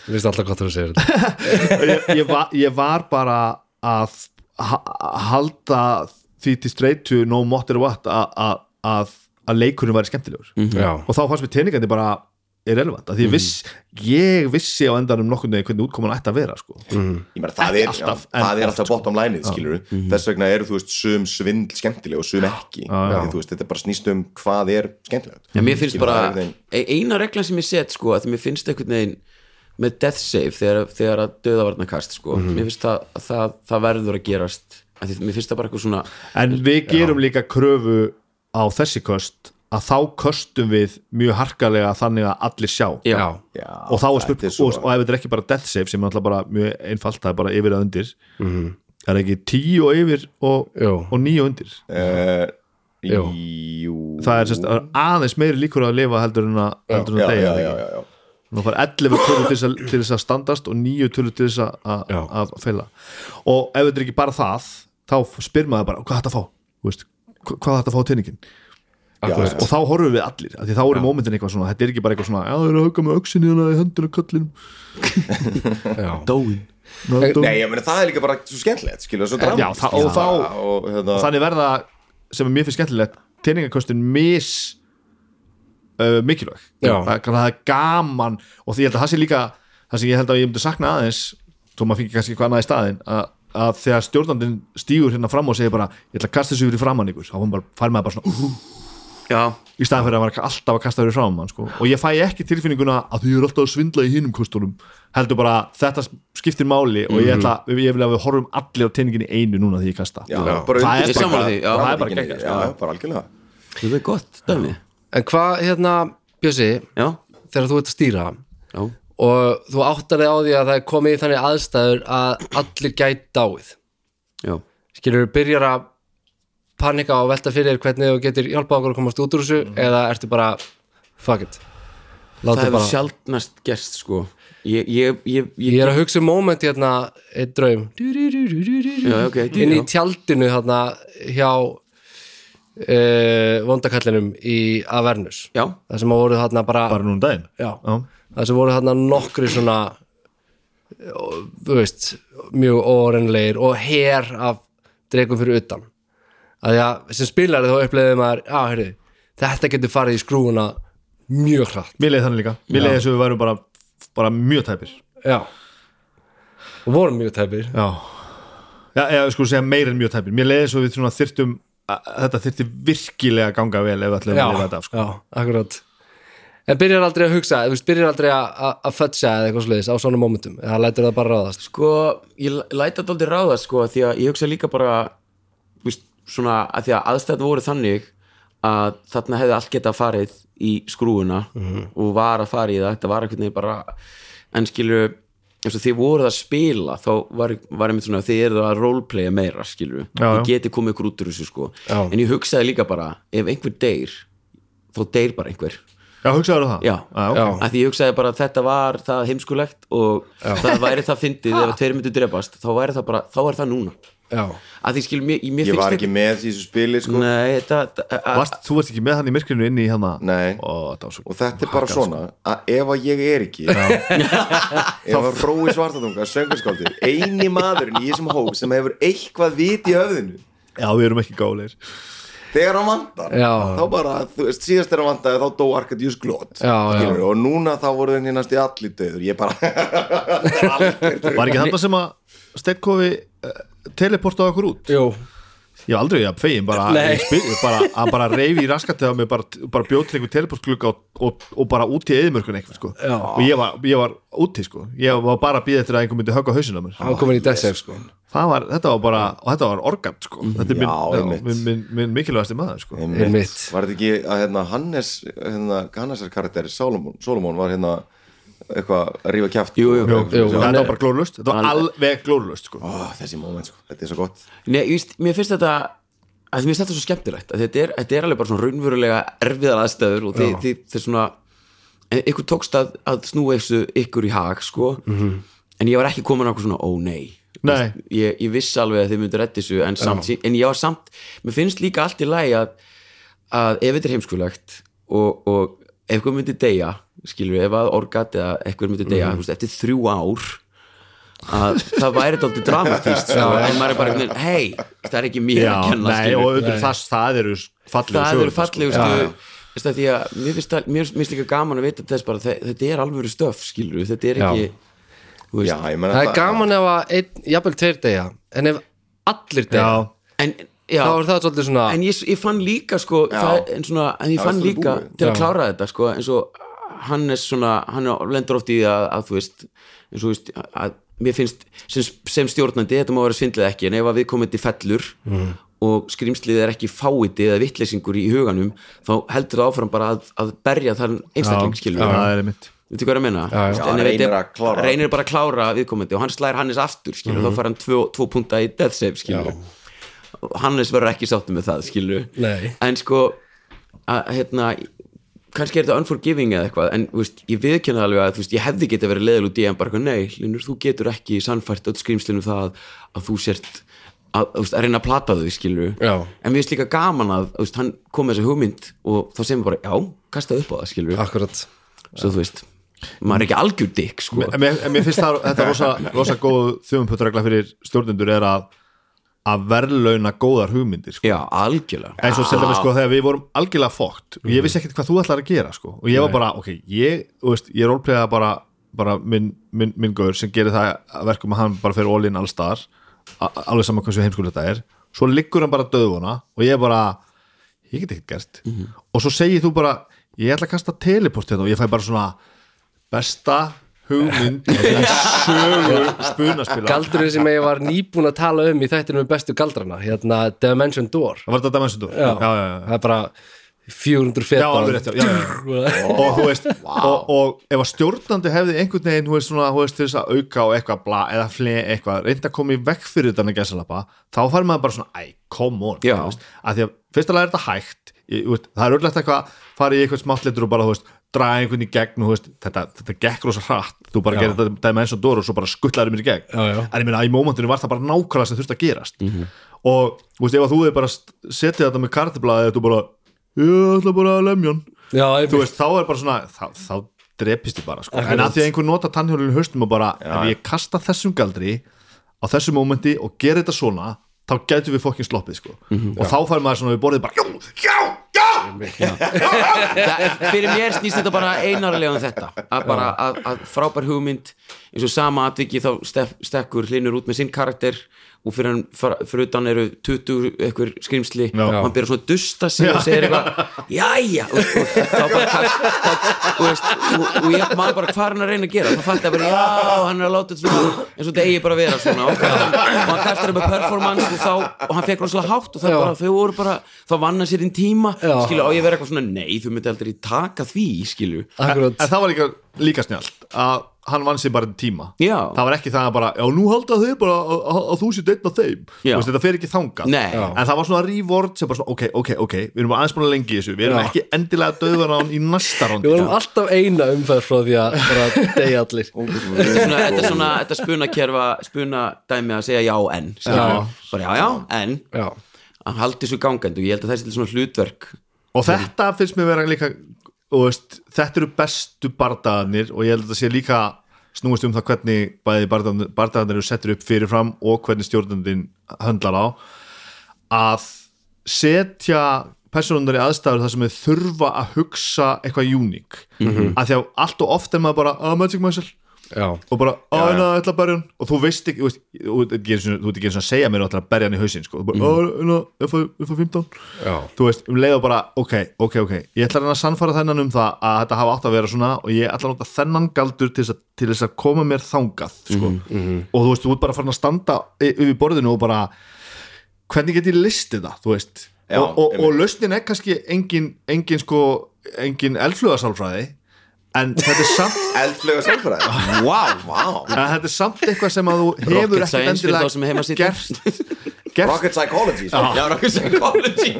Ég veist alltaf hvað þú segir þetta
Ég, ég, var, ég var bara að ha- halda því til streytu no matter what a- a- að að leikurinn væri skemmtilegur
Mhm.
Já,
og þá fannst mér teiningandi bara irrelevant, að því ég viss ég vissi á endanum nokkurn veginn hvernig útkoman ætti að vera sko.
Mhm.
ég meina, það
Ekki
er
alltaf,
já,
en
það er
oft, Mhm.
alltaf bottom line skilur þess vegna eru, þú veist, sum svindl skemmtileg og sum ekki, því þú veist, þetta bara snýst um hvað er skemmtilegt
en mér finnst
Skilur,
bara,
það er einhvern veginn-
ein- eina reglan sem ég set sko, að því mér finnst einhvern veginn með death save þegar, þegar að döðavarna kast sko. mér finnst það, að það, það verður að gerast að því, mér finnst það bara eitthvað svona
en við gerum líka kröfu á þessi köst að þá köstum við mjög harkalega þannig að allir sjá
já,
já,
Já,
og þá er
þetta
spurning,
svo-
og, og ef þetta er ekki bara death save sem er alltaf bara mjög einfalt, það er bara yfir að undir
Mhm.
það er ekki tíu og yfir og,
Jú.
og níu og undir
Eh,
Jú.
Jú
það er sérst, aðeins meiri líkur að lifa heldur en að, heldur en
já,
að
já,
deyja er
já, já,
það ekki?
já.
nú fær 11 tölur til þess að- til þess að standast og 9 tölur til þess að-
Já.
að að feila og ef þetta er ekki bara það þá spyr maður bara, hvað þetta fá? Þú Veist, hva- hvað þetta fá tenningin?
akkurat
og þá horfum við allir, af því þá eru mómentin eitthvað svona þetta er ekki bara eitthvað svona, já það eru að hauka með auksinni hana í höndinu kallinu
já.
dóin
Nei, ég meina, það er líka bara svo skemmtilegt skilur, svo dramat,
Já, það- og þá-
og, hérna,
og þannig verða sem er mér finnst skemmtilegt teiningarkostin mis uh, mikilvæg
Já.
það, það er gaman og því ég held að það sé líka það sem ég held að ég myndi sakna aðeins þó maður fengi kannski eitthvað annað í staðin að, að þegar stjórnandinn stígur hérna fram og segir bara ég ætla að kasta þessu fyrir framann ykkur þá var bara, fær maður bara svona "Ú",
já,
í staðan fyrir að maður alltaf að kasta þessu framann sko. og ég fæ ekki tilfinninguna að því ég er alltaf að svindla í hinum kostunum heldur bara þetta skiptir máli og ég, ætla, ég vil að við horfum allir á teininginni einu núna því ég kasta
já, bara
Það er
undir-
ég sammála því, já.
bara-
Það er bara geggjað, sko.
já, bara algjörlega
það er gott dæmi,
En hvað, hérna, Bjössi
já,
þegar þú ert að stýra
já
og þú áttar þig á því að það er komið í þannig aðstæður að allir gæti dáið
já,
skilur, byrjar að panika og velta fyrir þér hvernig þú getur hjálpað okkur að komast út úr þessu eða ertu bara, fuck it
Mm. það
Látum
hefur
bara,
sjaldnast gerst sko ég, ég, ég, ég,
ég er að hugsa um moment hérna, eitt draum já,
Já, ok,
inn í
já.
tjaldinu hérna hjá uh, vondakallinum í Avernus
já,
það sem voru þarna bara,
bara núna um daginn
já,
Já.
það sem voru þarna nokkri svona eh, ó- þú veist, mjög órenleir og her af dregum fyrir utan að því að sem spilari þá uppleiði maður já, heyrðu, þetta getur farið í skrúuna mjög hratt
Mér leiði þannig líka, mér leiði þess að við værum bara, bara mjög tæpir
já, og voru mjög tæpir
Já, já eða sko segja meir en mjög tæpir Mér leiði þess að við svona þyrftum að- að þetta þyrfti virkilega að ganga vel ef við ætlum
já,
að lifa þetta af sko.
já, akkurat en byrjar aldrei að hugsa, þú veist, byrjar aldrei að- að að fötsa eða eitthvað sliðis á svona momentum eða lætur það bara ráðast
sko, ég læ- læt þetta aldrei ráða sko, því að ég hugsa líka bara þú veist, svona, að því að aðstætt voru þannig að þarna hefði allt getað farið
Mhm.
í skrúuna og var að fara í það, þetta var einhvern veginn bara en skilur eins og þið voruð að spila þá var, var einmitt svona þið eruð að roleplaya meira skilur
Já, já.
þið getið komið ykkur út úr þessu sko
Já.
en ég hugsaði líka bara, ef einhver deyr þá deyr bara einhver
Já, hugsaður það? Ah,
Já.
ok.
Já.
að því ég hugsaði bara að þetta var það heimskulegt og það væri það fyndið ef tveir myndu drefast, þá væri það bara þá er það núna,
já,
að því skilur mér, mér
ég
finnst
var ekki með í þessu spili sko.
Nei, þetta a- a-
Varst, þú varst ekki með hann í myrkrinu inni í hérna
Nei.
Ó, það var svo
og þetta er bara svona
sko.
að ef að ég er ekki ef að Rói Svartadunga söngurskáldi, eini maðurinn í þessum hóp sem hefur eitthvað vit í höfðinu
Já, við erum ekki gáleir
þegar hann vantar
Já.
þá bara, þú veist, síðast þegar hann vantaði þá dó Arkadius Glot
Já, já.
Skilurðu, og núna þá voru þeir nýnast í allir döður ég bara
Var ekki þetta sem að Steinkofi uh, teleportaði okkur út?
jú
Ég var aldrei að fegin bara,
Nei.
ég spil, ég bara að bara reyfi í raskatið á mig bara, bara bjóð til einhver teleportglugga og, og, og bara út í eðimörkun eitthvað sko
Já.
og ég var, ég var úti sko ég var bara að býða eftir að einhver myndi högga hausinn á mér
hann kom inn í Death Save sko
það var, þetta var bara, og þetta var organ sko þetta er minn,
Já,
já,
einmitt.
minn, minn, minn mikilvægasti maður sko
Einmitt.
var þetta ekki að hérna, Hannes hérna, Hannesar karakteri Solomon, Solomon var hérna eitthvað að rífa kjæft
Jú, jú.
Jú, hann
þetta var bara glórlust, þetta var
Hann-
alveg glórlust sko
Ó, þessi moment, sko. þetta er svo gott
Nei, ég veist, mér finnst þetta að mér finnst þetta svo skemmtilegt að þetta er, þetta er alveg bara svona raunverulega erfiðar aðstæður og þið, þið, þið svona en ykkur tókst að, að snúa þessu ykkur í hag sko
Mhm.
-hmm. en ég var ekki komin á okkur svona, ó nei
Nei.
Þú veist, ég, ég vissi alveg að þið myndir reddi þessu en, samt, en ég var samt, mér finnst líka allt í lagi að, að ef þetta er heimskulegt og, og ef ykkur myndi deyja, skilur við, ef að orgat eða ykkur myndi deyja, mm veist, eftir þrjú ár að það væri dálítið dramatíst sko, en maður er bara einhvern veginn, hei, það er ekki mér
já,
að kenna
nei,
skilur.
og auðvitað það, það eru fallegu sögur,
það
sko.
eru fallegustu veist það, því að mér finnst, það, mér finnst líka gaman að vita þess bara, þe- þetta er alvöru stöf skilur, þetta er ekki
Já,
þú veist,
ég meina
það er
þetta-
gaman ef að einn, jafnvel tveir deyja en ef allir
já,
deyja
en, já,
þá er það svolítið svona
en ég, ég fann líka sko,
Já.
það, en, svona, en ég
Það er
fann
allt í
líka
búið.
til að
Já.
klára þetta sko, eins og hann er svona hann er- lendur oft í því að, að þú veist eins og þú veist að mér finnst sem, sem stjórnandi, þetta má vera svindlið ekki en ef að við komum þetta í fellur
Mm.
og skrýmslið er ekki fáiti eða vittleysingur í huganum, þá heldur það áfram bara að, að berja þann einstakling skilur
það er einmitt
Þetta er hvað ég að meina
já.
Þú veist,
Já,
en ef
reynir
þetta-
að klára.
Reynir bara að klára viðkomandi og hann slæðir Hannes aftur skilur,
Mhm.
þá fara hann tvo, tvo punta í death save skilur. Hannes verður ekki sáttum með það skilur.
Nei.
En sko að, hérna, kannski er þetta unforgiving eða eitthvað en þú veist, ég viðkynna alveg að þú veist, ég hefði geta verið leðil út í en bara eitthvað, nei, Linur, þú getur ekki sannfært öll skrýmslunum það að þú sért að, þú veist, að reyna að plata þau skilur
Já.
en við veist líka gaman að þú veist, hann kom með þessi hugmynd og þá segir maður bara, já, kasta upp á það skilur
akkurat
svo þú veist maður er ekki algjör dikk sko
En mér, en mér finnst það, þetta rosa, rosa góð þjóðumpötregla fyrir stjórnendur er að að verðlauna góðar hugmyndir sko.
já, algjörlega
eins og sem dæmis sko þegar við vorum algjörlega fókt og ég vissi ekkert hvað þú ætlar að gera sko. og ég var bara, ok, ég, þú veist, ég rólplega bara, bara minn, minn, minn gaur sem gerir það að verkum að hann bara fer all-in allstar, alveg saman hversu heimskul þetta er, svo liggur hann bara döðuna og ég bara, ég get ekkert gert og svo segir þú bara ég ætla að kasta teleport hérna og ég fæ bara svona besta hugmynd í sögu spunaspila
galdurinn sem ég var nýbúin að tala um í þættinum um bestu galdrana hérna Dimension Door
það var þetta dæmis já, já, já, já.
það er bara 400 feta
Já, alveg rétt, já, já, já. og þú veist og, og ef að stjórnandi hefði einhvern veginn þú veist, svona, þú veist, til þess að auka og eitthvað bla, eða fle eitthvað, reynda að koma í vekk fyrir þetta með gæsalappa, þá fær maður bara svona æ, come on,
Já.
þú veist, að því að fyrst að læra þetta hægt, ég, þú veist, það er öllegt eitthvað fara í eitthvað smáttleitur og bara, þú veist draga einhvern í gegn, og, þú veist, þetta, þetta gekk rosa hratt, þú bara gerir þetta dæmi eins og dór og svo bara skuttlaður mér í gegn,
Já, já.
en ég meina að í mómentinu var það bara nákvæmlega sem þurfti að gerast og, þú veist, ef að þú hefur bara st- setið þetta með kartablaðið, þú bara ég ætla bara að lemja hann
já, einmitt.
þú veist, þá er bara svona þá, þá drepist þið bara, sko en að því að einhver nota tannhjólinu haustum og bara ef ég kasta þessum galdri á þessum mómenti og gera þetta svona þá gætu við fokkin sloppið, sko
Mhm,
og þá fær maður svona við borðið bara já, já, já,
það, fyrir mér snýst þetta bara einarlega um þetta að bara að, að frábær hugmynd eins og sama atviki þá stef, stekkur hlinur út með sinn karakter og fyrir, hann, fara- fyrir utan eru 20 ekkur skrimsli
Já.
og hann byrjar svona að dusta sig og segir eitthvað jæja og, og, þá bara kast, þá, og, veist, og, og ég maður bara hvað er hann að reyna að gera þá fatt ég bara já hann er að láta þetta svona eins og þetta eigi bara að vera svona og, hann- og hann kastar upp með performance og, þá, og hann fekk rosalega hátt og það bara þau voru bara þá vann hann sér inn tíma
Já.
skilju, á ég að vera eitthvað svona nei, þú myndi aldrei taka því, skilju
en, en
Akkurat,
það var líka, líka snjált að hann vann sér bara tíma
Já.
það var ekki það að bara, já nú halda þau bara að, að, að þú sér deitt af þeim
Já.
Þú veist, þetta fer ekki þanga
Nei. Já.
en það var svona reward sem bara svona, ok, ok, ok við erum aðeins búin að lengi í þessu, við erum
Já.
ekki endilega döður á hann í næsta
við
rondi
vorum alltaf eina umferð frá því að bara degja allir
þetta er
sko.
svona, þetta er svona, þetta spunakerfa spunadæmi að segja já en skilju. bara já, já, en
Já,
að haldi þessu gangandi og ég held að það sé svona hlutverk
og þetta finnst mér vera líka og veist, þetta eru bestu bardaðanir og ég held að það sé líka snúist um það hvernig bæði bardaðanir eru settir upp fyrirfram og hvernig stjórnandinn höndlar á að setja personunar í aðstæður þar sem þau þurfa að hugsa eitthvað uník af því að allt og oft er maður bara að magic myself
já,
og bara, að hérna, ætla að berja hann og þú veist ekki, þú veist, þú ert ekki einu sinni- þú ert ekki eins og að segja mér að þú ætla að berja hann í hausinn sko. og bara, að hérna, ég fæ 15
já
þú veist, um leið og bara, ok, ok, ok ég ætla að reyna að sannfara þennan um það að þetta hafa átt að vera svona og ég ætla að nota þennan galdur til þess að, til þess að koma mér þangað sko.
Mhm,
og þú veist, þú ert bara farin að standa y- yfir borðinu og bara hvernig get ég listið það, þú veist
Já,
og, og, og
einmitt.
lausnin er kannski engin, engin sko, engin eldflugasálfræði en þetta er samt
eldflega sálfræði
wow,
wow.
En þetta er samt eitthvað sem að þú hefur
Rocket
ekkert
science fyrir
endilega
þá sem heima sitja.
gert, gert
rocket psychology sko.
já, rocket psychology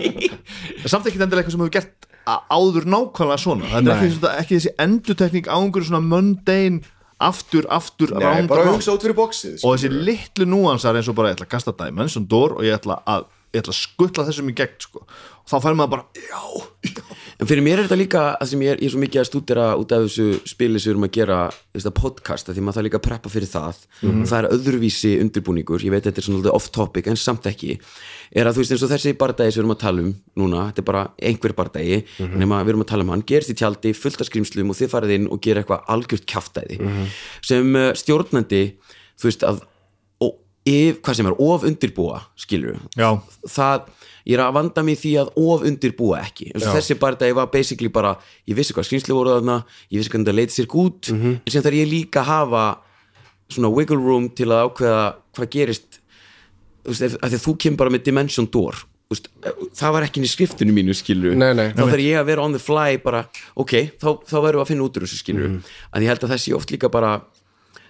samt ekkert endilega eitthvað sem hefur gert a- áður nákvæmlega svona það er ekki, svona, ekki þessi endutekning á einhverju svona mundane aftur, aftur,
Nei,
round
bara
round.
hugsa út fyrir boxið sko.
og þessi litlu núansar eins og bara ég ætla að kasta Dimension Door og ég ætla að, ég ætla að skutla þessum í gegn sko. og þá fær maður bara, já, já
En fyrir mér er þetta líka það sem ég er, ég er svo mikið að stúdera út af þessu spili sem við erum að gera þetta podcast, af því maður þarf líka að preppa fyrir það og það er öðruvísi undirbúningur ég veit þetta er svona svolítið off topic en samt ekki er að þú veist eins og þessi bardagi sem við erum að tala um núna, þetta er bara einhver bardagi nema við erum að tala um hann, gerist í tjaldi fullt af skrýmslum og þið farið inn og gera eitthvað algjört kjaftæði sem uh, stjórnandi, þú veist að og, ef, hvað sem er, of undirbúa skilur
Já.
það, ég er að vanda mig í því að of undirbúa ekki eins og þessi bara þetta, ég var basically bara ég vissi hvað skrýnslu voru þarna, ég vissi hvernig það leiti sér út en sem þarf ég líka að hafa svona wiggle room til að ákveða hvað gerist þú veist, ef- af því að þú kemur bara með dimension door þú veist, e, það var ekki inn í skriftinu mínu skilur
Nei, nei.
þá þarf ég að vera on the fly bara, ok, þá, þá verðum við að finna út úr þessu skilur að ég held að þessi oft líka bara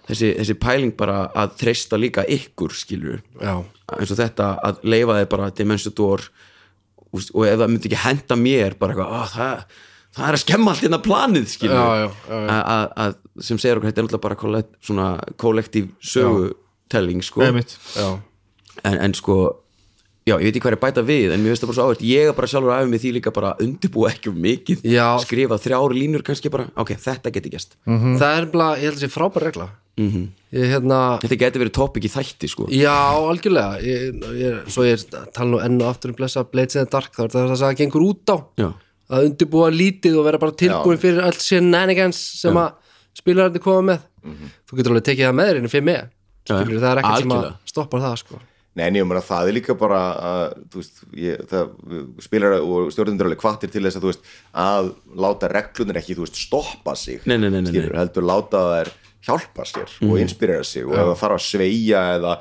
þessi, þessi pæling bara að treysta líka ykkur skilur
Já,
eins og þetta að leifa þeir bara Dimension Door úst, og ef það myndi ekki henda mér bara eitthvað, "Ah, það, það er að skemma allt hérna planið skilur
Já, já, já, já.
Að- að- að sem segir okkur, þetta er náttúrulega bara kollekt, svona kollektív sögutelling sko.
einmitt
já
en, en sko já, ég veit ekki hvað er að bæta við en mér finnst það bara svo áhvert, ég er bara sjálfur aðeins með því líka bara að undirbúa ekki um mikið
Já. Mm.
skrifa þrjár línur kannski bara, ok, þetta geti gæst
Það er bara, ég held að sé frábær regla Ég hérna,
þetta geti verið topic í þætti sko
Já, algjörlega ég, ég, Svo ég tala nú enn og aftur um blessa Blades in the Dark, þá er þetta það sem það gengur út á
Já.
að undirbúa lítið og vera bara tilbúin fyrir allt sér næningans sem að spilarandi koma með Þú getur alveg tekið það með þér inn í fyrir mig Skilur, það er ekkert sem að
Algjörlega.
stoppar það sko.
Nei, en ég meina það er líka bara að, þú veist, ég, það spilar og stjórnundur alveg kvartir til þess að þú veist að láta reglunir ekki, þú veist, stoppa sig
Nei, nei, nei, Mhm. nei, nei.
skilur, heldur láta þær hjálpa sér og inspirera sig og ef það þarf að sveigja eða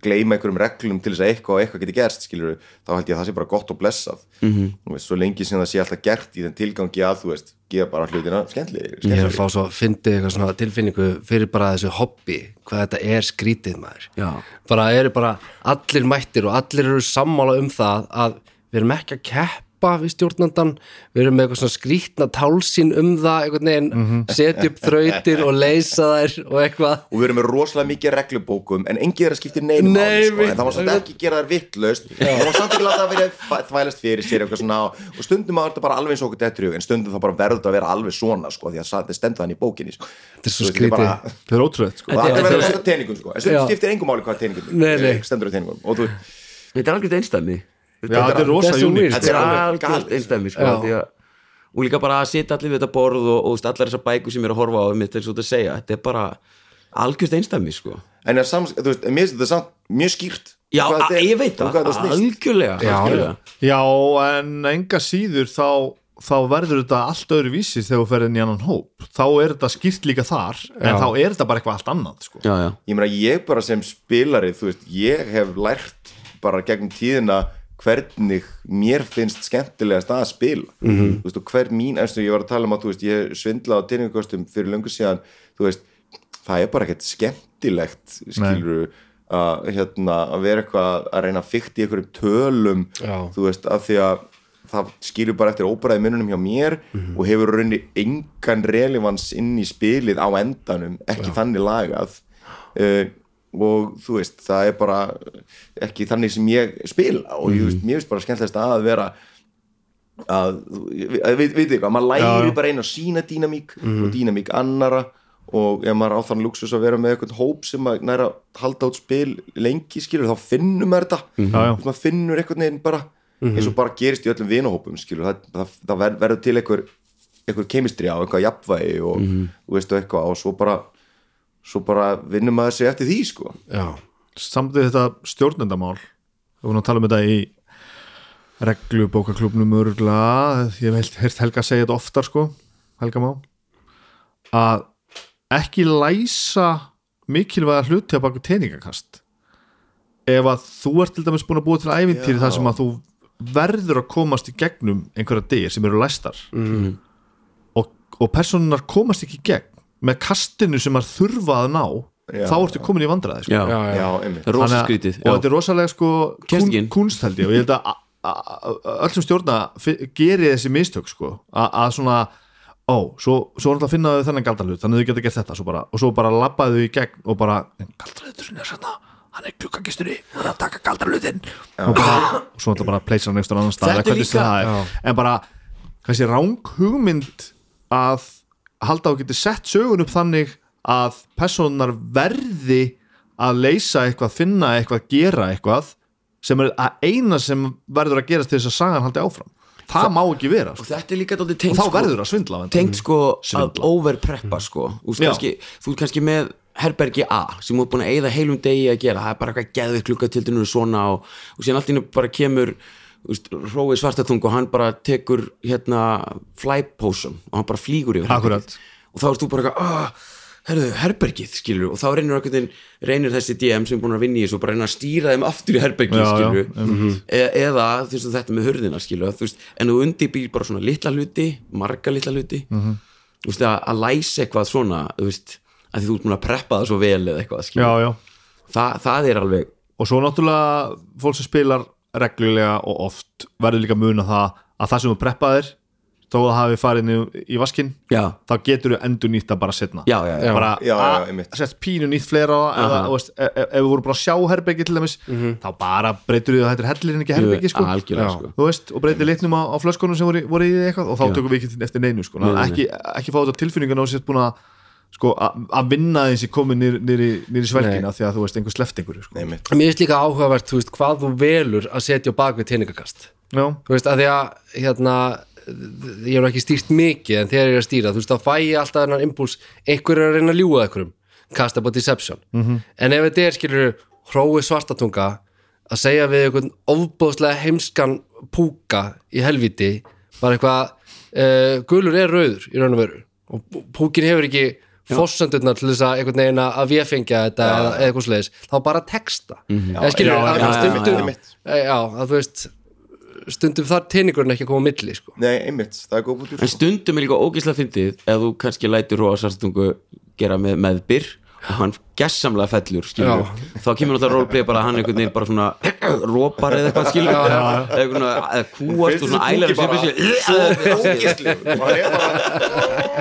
gleyma einhverjum reglum til þess að eitthvað og eitthvað geti gerst skilur, þá held ég að það sé bara gott og blessað -hmm.
Mhm.
veist, svo lengi sem það sé alltaf gert í þenn tilgangi að, þú veist, gefa bara hlutina skemmtli,
Ég
skemmtli.
er að fá svo að fyndi eitthvað svona tilfinningu fyrir bara þessu hobby hvað þetta er skrítið maður
Já.
bara eru bara allir mættir og allir eru sammála um það að við erum ekki að keppa við stjórnandan við erum með eitthvað svona skrítna tálsín um það einhvern veginn setja upp þrautir og leysa þær og eitthvað
og við erum með rosalega mikið reglubókum en engið er að skipta neinu
Nei,
máli sko,
við-
en það var samt ekki gera þær vittlaust það var samt ekki láta að vera þvæ- þvælast fyrir sér eitthvað svona og stundum var þetta bara alveg eins og okkur dettur í hug, en stundum það bara verður þetta að vera alveg svona sko, því að það stendur þannig í bókinni sko.
þetta er svo
Þú veist, þetta er
skrítið
bara-
það er ótrúið sko.
og það er að
þetta
vera
er-
að setja teningum sko. en stundum
Já.
skiptir engum máli hvað teningum
Nei, nei.
stendur á teningum og þú
þetta er algjörð einstæðni
já, þetta er rosa
þetta
sko.
er svo
uník
weird.
Þetta
þetta
er
er
alveg
algjörð
galið.
einstæmi sko,
Já.
af því að- og líka bara að sitja allir við þetta borð og, og þú veist, allar þessar bækur sem ég er að horfa á mitt eins og þetta segja, þetta er bara algjörð einstæmi sko.
en er sams, þú veist, en mér finnst þetta samt mjög skýrt
já,
Hvað þetta
a-
er-
ég veit
og hvað
það,
þetta snýst.
algjörlega algjörlega.
já, en enga síður þá þá verður þetta allt öðru vísi þegar þú ferðin í annan hóp þá er þetta skýrt líka þar en þá er þetta bara eitthvað allt annað sko.
já, já,
ég meina ég bara sem spilari þú veist, ég hef lært bara gegnum tíðina hvernig mér finnst skemmtilegast að spila -hmm. veist, og hver mín, eins og ég var að tala um að þú veist, ég svindla á tyrningkostum fyrir löngu síðan þú veist, það er bara ekkert skemmtilegt skilur að hérna, að vera eitthvað að reyna að fykta í einhverjum tölum
Já.
þú veist, af því að það skilur bara eftir óbræði mununum hjá mér og hefur raunni engan relevans inn í spilið á endanum ekki þannig lagað uh, og þú veist, það er bara ekki þannig sem ég spila og mm
Mhm.
veist, mér finnst bara skemmtilegast að vera að, að við, við eitthvað, maður læri bara einu að sína dýnamík
Mhm.
og dýnamík annara og ef maður á þann luxus að vera með eitthvað hóp sem maður næra að halda át spil lengi skilur, þá finnum maður þetta
Mhm. Já, Mhm. já.
Þú veist, maður finnur eitthvað neginn bara eins og bara gerist í öllum vinahópum skilur, það, það, það ver, verður til einhver einhver kemistri á, einhver jafnvægi og,
Mhm.
þú veist, og eitthvað og svo bara svo bara vinnum maður sig eftir því sko.
já,
samt við þetta stjórnendamál við vorum að tala um þetta í reglubókaklubnum örgla ég hef heilt- heyrt Helga segja þetta oftar sko Helga má að ekki læsa mikilvæga hluti að baka teiningakast ef að þú ert til dæmis búin að búa til ævintýri þar sem að þú verður að komast í gegnum einhverja dyr sem eru læstar
Mhm.
og, og personunar komast ekki í gegn með kastinu sem að þurfa að ná
Já,
þá ertu komin í vandræði sko.
já,
já, já.
já, einmitt
rosa
Þannig að-
skrítið
og þetta er rosalega sko
Kemst
kun,
ekki inn.
kunst held ég og ég held að a- a- a- öll sem stjórna fi- geri þessi mistök sko a- að svona ó, svo, svo er alltaf að finna þau þennan galdalut þannig að þau geta gert þetta svo bara, og svo bara labbaðu í gegn og bara, en galdaluturinn er svona hann er klukkagisturinn, hann er að taka galdalutin og bara, og svo alltaf bara pleysa hann einhverjum annan stað,
Þetta
eða hvernig
líka-
sem það er. en bara, þessi ráng hugmynd að halda og geti sett sögun upp þannig að personar verði að leysa eitthvað, finna eitthvað, gera eitthvað sem er að eina sem verður að gerast til þess að sagan haldi áfram það, má ekki vera
og
sko.
þetta er líka dálítið
og
tengt
þá
sko-
verður að svindla á hendur.
tengt sko að
Svindla.
overpreppa sko Úst,
Já.
kannski, þú ert kannski með herbergi A sem þú er búin að eyða heilum degi að gera það er bara eitthvað geðvið klukkatildinu og svona og, og síðan allt í einu bara kemur úst, Rói Svartatung og hann bara tekur hérna flypósum og hann bara flýgur yfir
Akkúrat.
herbergið. og þá ert þú bara eitthvað "Ah, herðu, herbergið skilur og þá reynir, einhvern, veginn- reynir þessi DM sem er búin að vinna í þessu og bara reynir að stýra þeim aftur í herbergið
Já, já,
skilur e eða þú veist, þetta með hurðina skilu, þú veist, en þú undirbýr bara svona litla hluti marga litla hluti mm
Mhm.
-hmm. veist, að, að læsa eitthvað svona þú veist, að því þú ert múin að preppa það svo vel eða eitthvað,
já,
skilu,
já.
Þa, það er alveg
og svo náttúrulega fólk sem spilar reglulega og oft verður líka að muna það að það sem þú preppaðir þó að það hafi farið niður í vaskinn
já,
þá getur þú endur nýtt það bara setna
já, já, já,
Já.
bara
Já, já,
að-
einmitt.
sett pínu nýtt fleira á það eða, þú veist, ef, ef- ef við vorum bara að sjá herbyggi til dæmis þá bara breytur við þetta er hellirinn ekki herbyggi sko.
Mhm. algjörlega,
Já.
sko.
Þú veist, og breytir litnum á, á flöskunum sem voru, í- voru í því eitthvað og þá tökum við ekki til- eftir neinu sko.
nei, nei.
ekki, ekki fá þetta tilfinningan á sér búin að sko, a- að vinna eins í komin nýri svelgina því að þú veist einhver sleft einhverju sko.
einmitt
mér finnst líka áhugavert þú veist, hvað þú velur að setja á bak við teiningakast
Já,
þú veist, að því að hérna, ég hef ekki stýrt mikið en þegar ég er að stýra, þú veist, þá fæ ég alltaf þennan impuls, einhver er að reyna að ljúga einhverjum kasta bara deception
Mhm.
-hmm. en ef þetta er, skilur, hrói svartatunga að segja við einhvern ofbóðslega heimskan púka í helviti, bara eitthvað uh, gulur er rauður í raun og veru og púkin hefur ekki fórsendurnar til þess að einhvern veginn að véfengja þetta eða eða eitthvað slegis, þá bara texta mm -hmm. eða skilur,
Mhm. Já,
að-
já, já,
stundum
já, einmitt.
Eh, já, að þú veist stundum þar teiningurinn ekki að koma á milli sko.
Nei, einmitt, það er góð bútur
en stundum er líka ógislega fyndið ef þú kannski lætur Róa Svartatungu gera með meðbyr og hann gessamlega fellur skilur, þá kemur náttúrulega roleplay bara að hann einhvern veginn bara svona rópar eða eitthvað skilur eða einhvern veginn að- að kúast og svona ælar sem þessi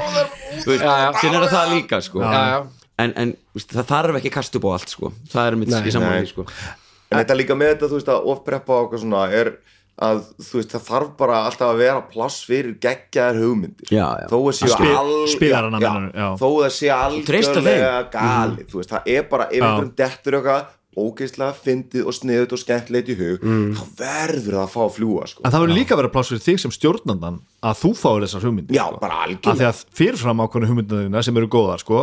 síðan er það það líka sko
já, já,
en, en þú veist, það þarf ekki að kasta upp á allt sko. það er mitt
Nei.
í samanlega
Nei.
sko.
En þetta líka með þetta, þú veist, að ofpreppa og eitthvað svona er að, þú veist, það þarf bara alltaf að vera pláss fyrir geggjaðar hugmyndir
Já, já.
Þó að séu
Að spil-
alg-
spilarana,
já,
meinarðu, já.
Þó að séu
Treysta
algjörlega
þeim.
gali Þú veist, það er bara, ef einhverjum dettur eitthvað ógeislega fyndið og sniðut og skemmtilegt í hug þá verður það að fá að fljúa, sko
en það verður líka að vera pláss fyrir þig sem stjórnandan að þú fáir þessar hugmyndir
Já, bara
af því
algjörlega
að fyrirfram ákveðnu hugmyndina sem eru góðar sko,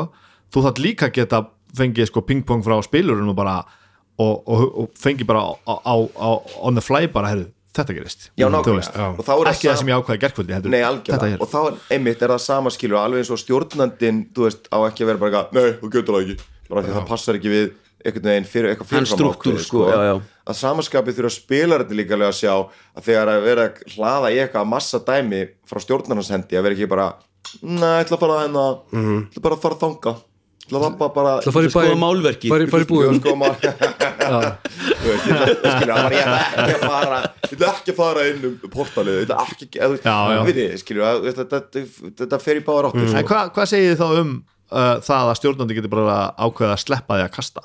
þú þátt líka að geta fengið sko pingpong frá spilurinn og bara og, og, og fengið bara á, á, á, on the fly bara, heyrðu, þetta gerist
Já,
Þú
nákvæmlega.
veist.
Já. Og þá er það
ekki það
sam-
sem ég ákvaði gerkvöldi heldur,
Nei,
þetta
algjörlega,
hér.
og þá er- einmitt er það sama skilur alveg eins og stjórnandin, þú veist, á ekki að vera bara eitthvað, nei, þú getur það ekki bara því það passar ekki við einhvern veginn fyrir eitthvað
Hans
fyrirfram
strúktúr,
ákveðið,
sko, já, já.
að að samaskapið þurfa spilarandi líka alveg að sjá að þegar að vera að hlaða í eitthvað massa dæmi frá stjórnarnas hendi að vera ekki bara Nei, ég ætla að fara að hérna Ég ætla bara að fara að þanga Ég ætla að labba bara
Það fari
Skoða málverkið.
Fari, fari
Ég
búið
sko maður Þú veist, ég ætla- ég skilur, það var ég ætla ekki að fara ég ætla ekki að fara inn um portalið ég ætla ekki, eða,
Já, já. Mm.
við þið, skilur að- þetta- þetta þetta fer í báðar áttir
En
sko.
hva, hvað segir þið þá um uh, það að stjórnandi getur bara ákveða að sleppa því að kasta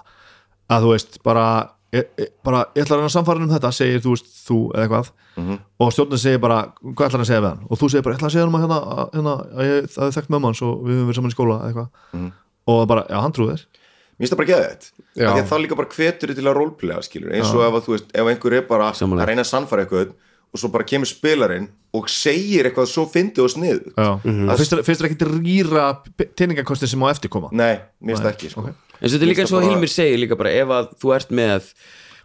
að þú veist, bara, e, e, bara ég ætla að reyna að samfara um þetta, segir þú veist þú eða eitthvað,
Mhm.
og stjórnandi segir bara hvað ætlar hann að segja við hann, og þú segir bara ég ætla að segja hann um að hérna, að, hérna, að ég það er þekkt mömmu hans og við höfum verið saman í skóla eða eitthvað
Mhm.
og bara, já, hann trúðir
mér finnst það bara geðið
Já.
þetta þá líka bara hvetur þig til að rólplega skilur eins og ef, að, þú veist, ef einhver er bara
Sammála.
að reyna að sannfara eitthvað og svo bara kemur spilarinn og segir eitthvað svo fyndi og snið
Mhm.
það finnst þér- finnst þér ekki rýra teiningakostin sem á eftir koma
nei, mér finnst það ekki sko.
ok.
En þetta er líka
Mér finnst
eins og
það bara-
Hilmir segir líka bara ef að þú ert með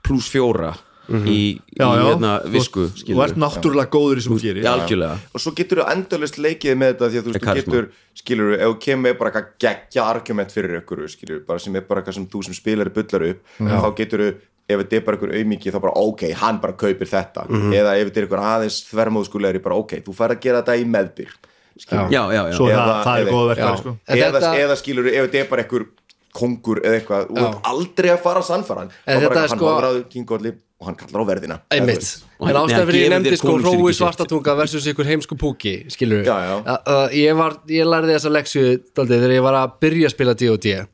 pluss fjóra í, í hérna
þú-
visku
þú ert
skilurðu.
náttúrulega góður í sem þú
Já,
gerir
algjörlega
og svo getur þú endalist leikið með þetta því að þú, veist, þú
Karisma.
getur, skilur ef þú kemur með bara eitthvað geggja argument fyrir ykkur skilur, bara sem er bara eitthvað sem þú sem spilari bullar upp en þá getur þú, ef þetta er bara ykkur auðmiki þá bara ok, hann bara kaupir þetta
Mhm.
eða ef þetta er ykkur aðeins þvermóðskulegri bara ok, þú færð að gera þetta í meðbyr skilur,
Já, já, já
svo er
Eða-
það, það er
eða-
góð
Já.
verkar sko.
En
eða,
þetta-
eða skilur ef þetta er bara ykkur kongur eða eitthvað, þú ert aldrei að fara að sannfara hann,
En
Þá bara
þetta er sko-
hann sko... hafraður kingolli og hann kallar á verðina
Einmitt,
Og
en
hann-
ástæðan
Nei,
fyrir ég
gefið
nefndi
þér
sko
konungsríki
Rói
sitt.
Svartatunga versus ykkur heimsku púki skilur
Já, já.
ég, var, ég lærði þessa leksju daldið, þegar ég var að byrja að spila D&D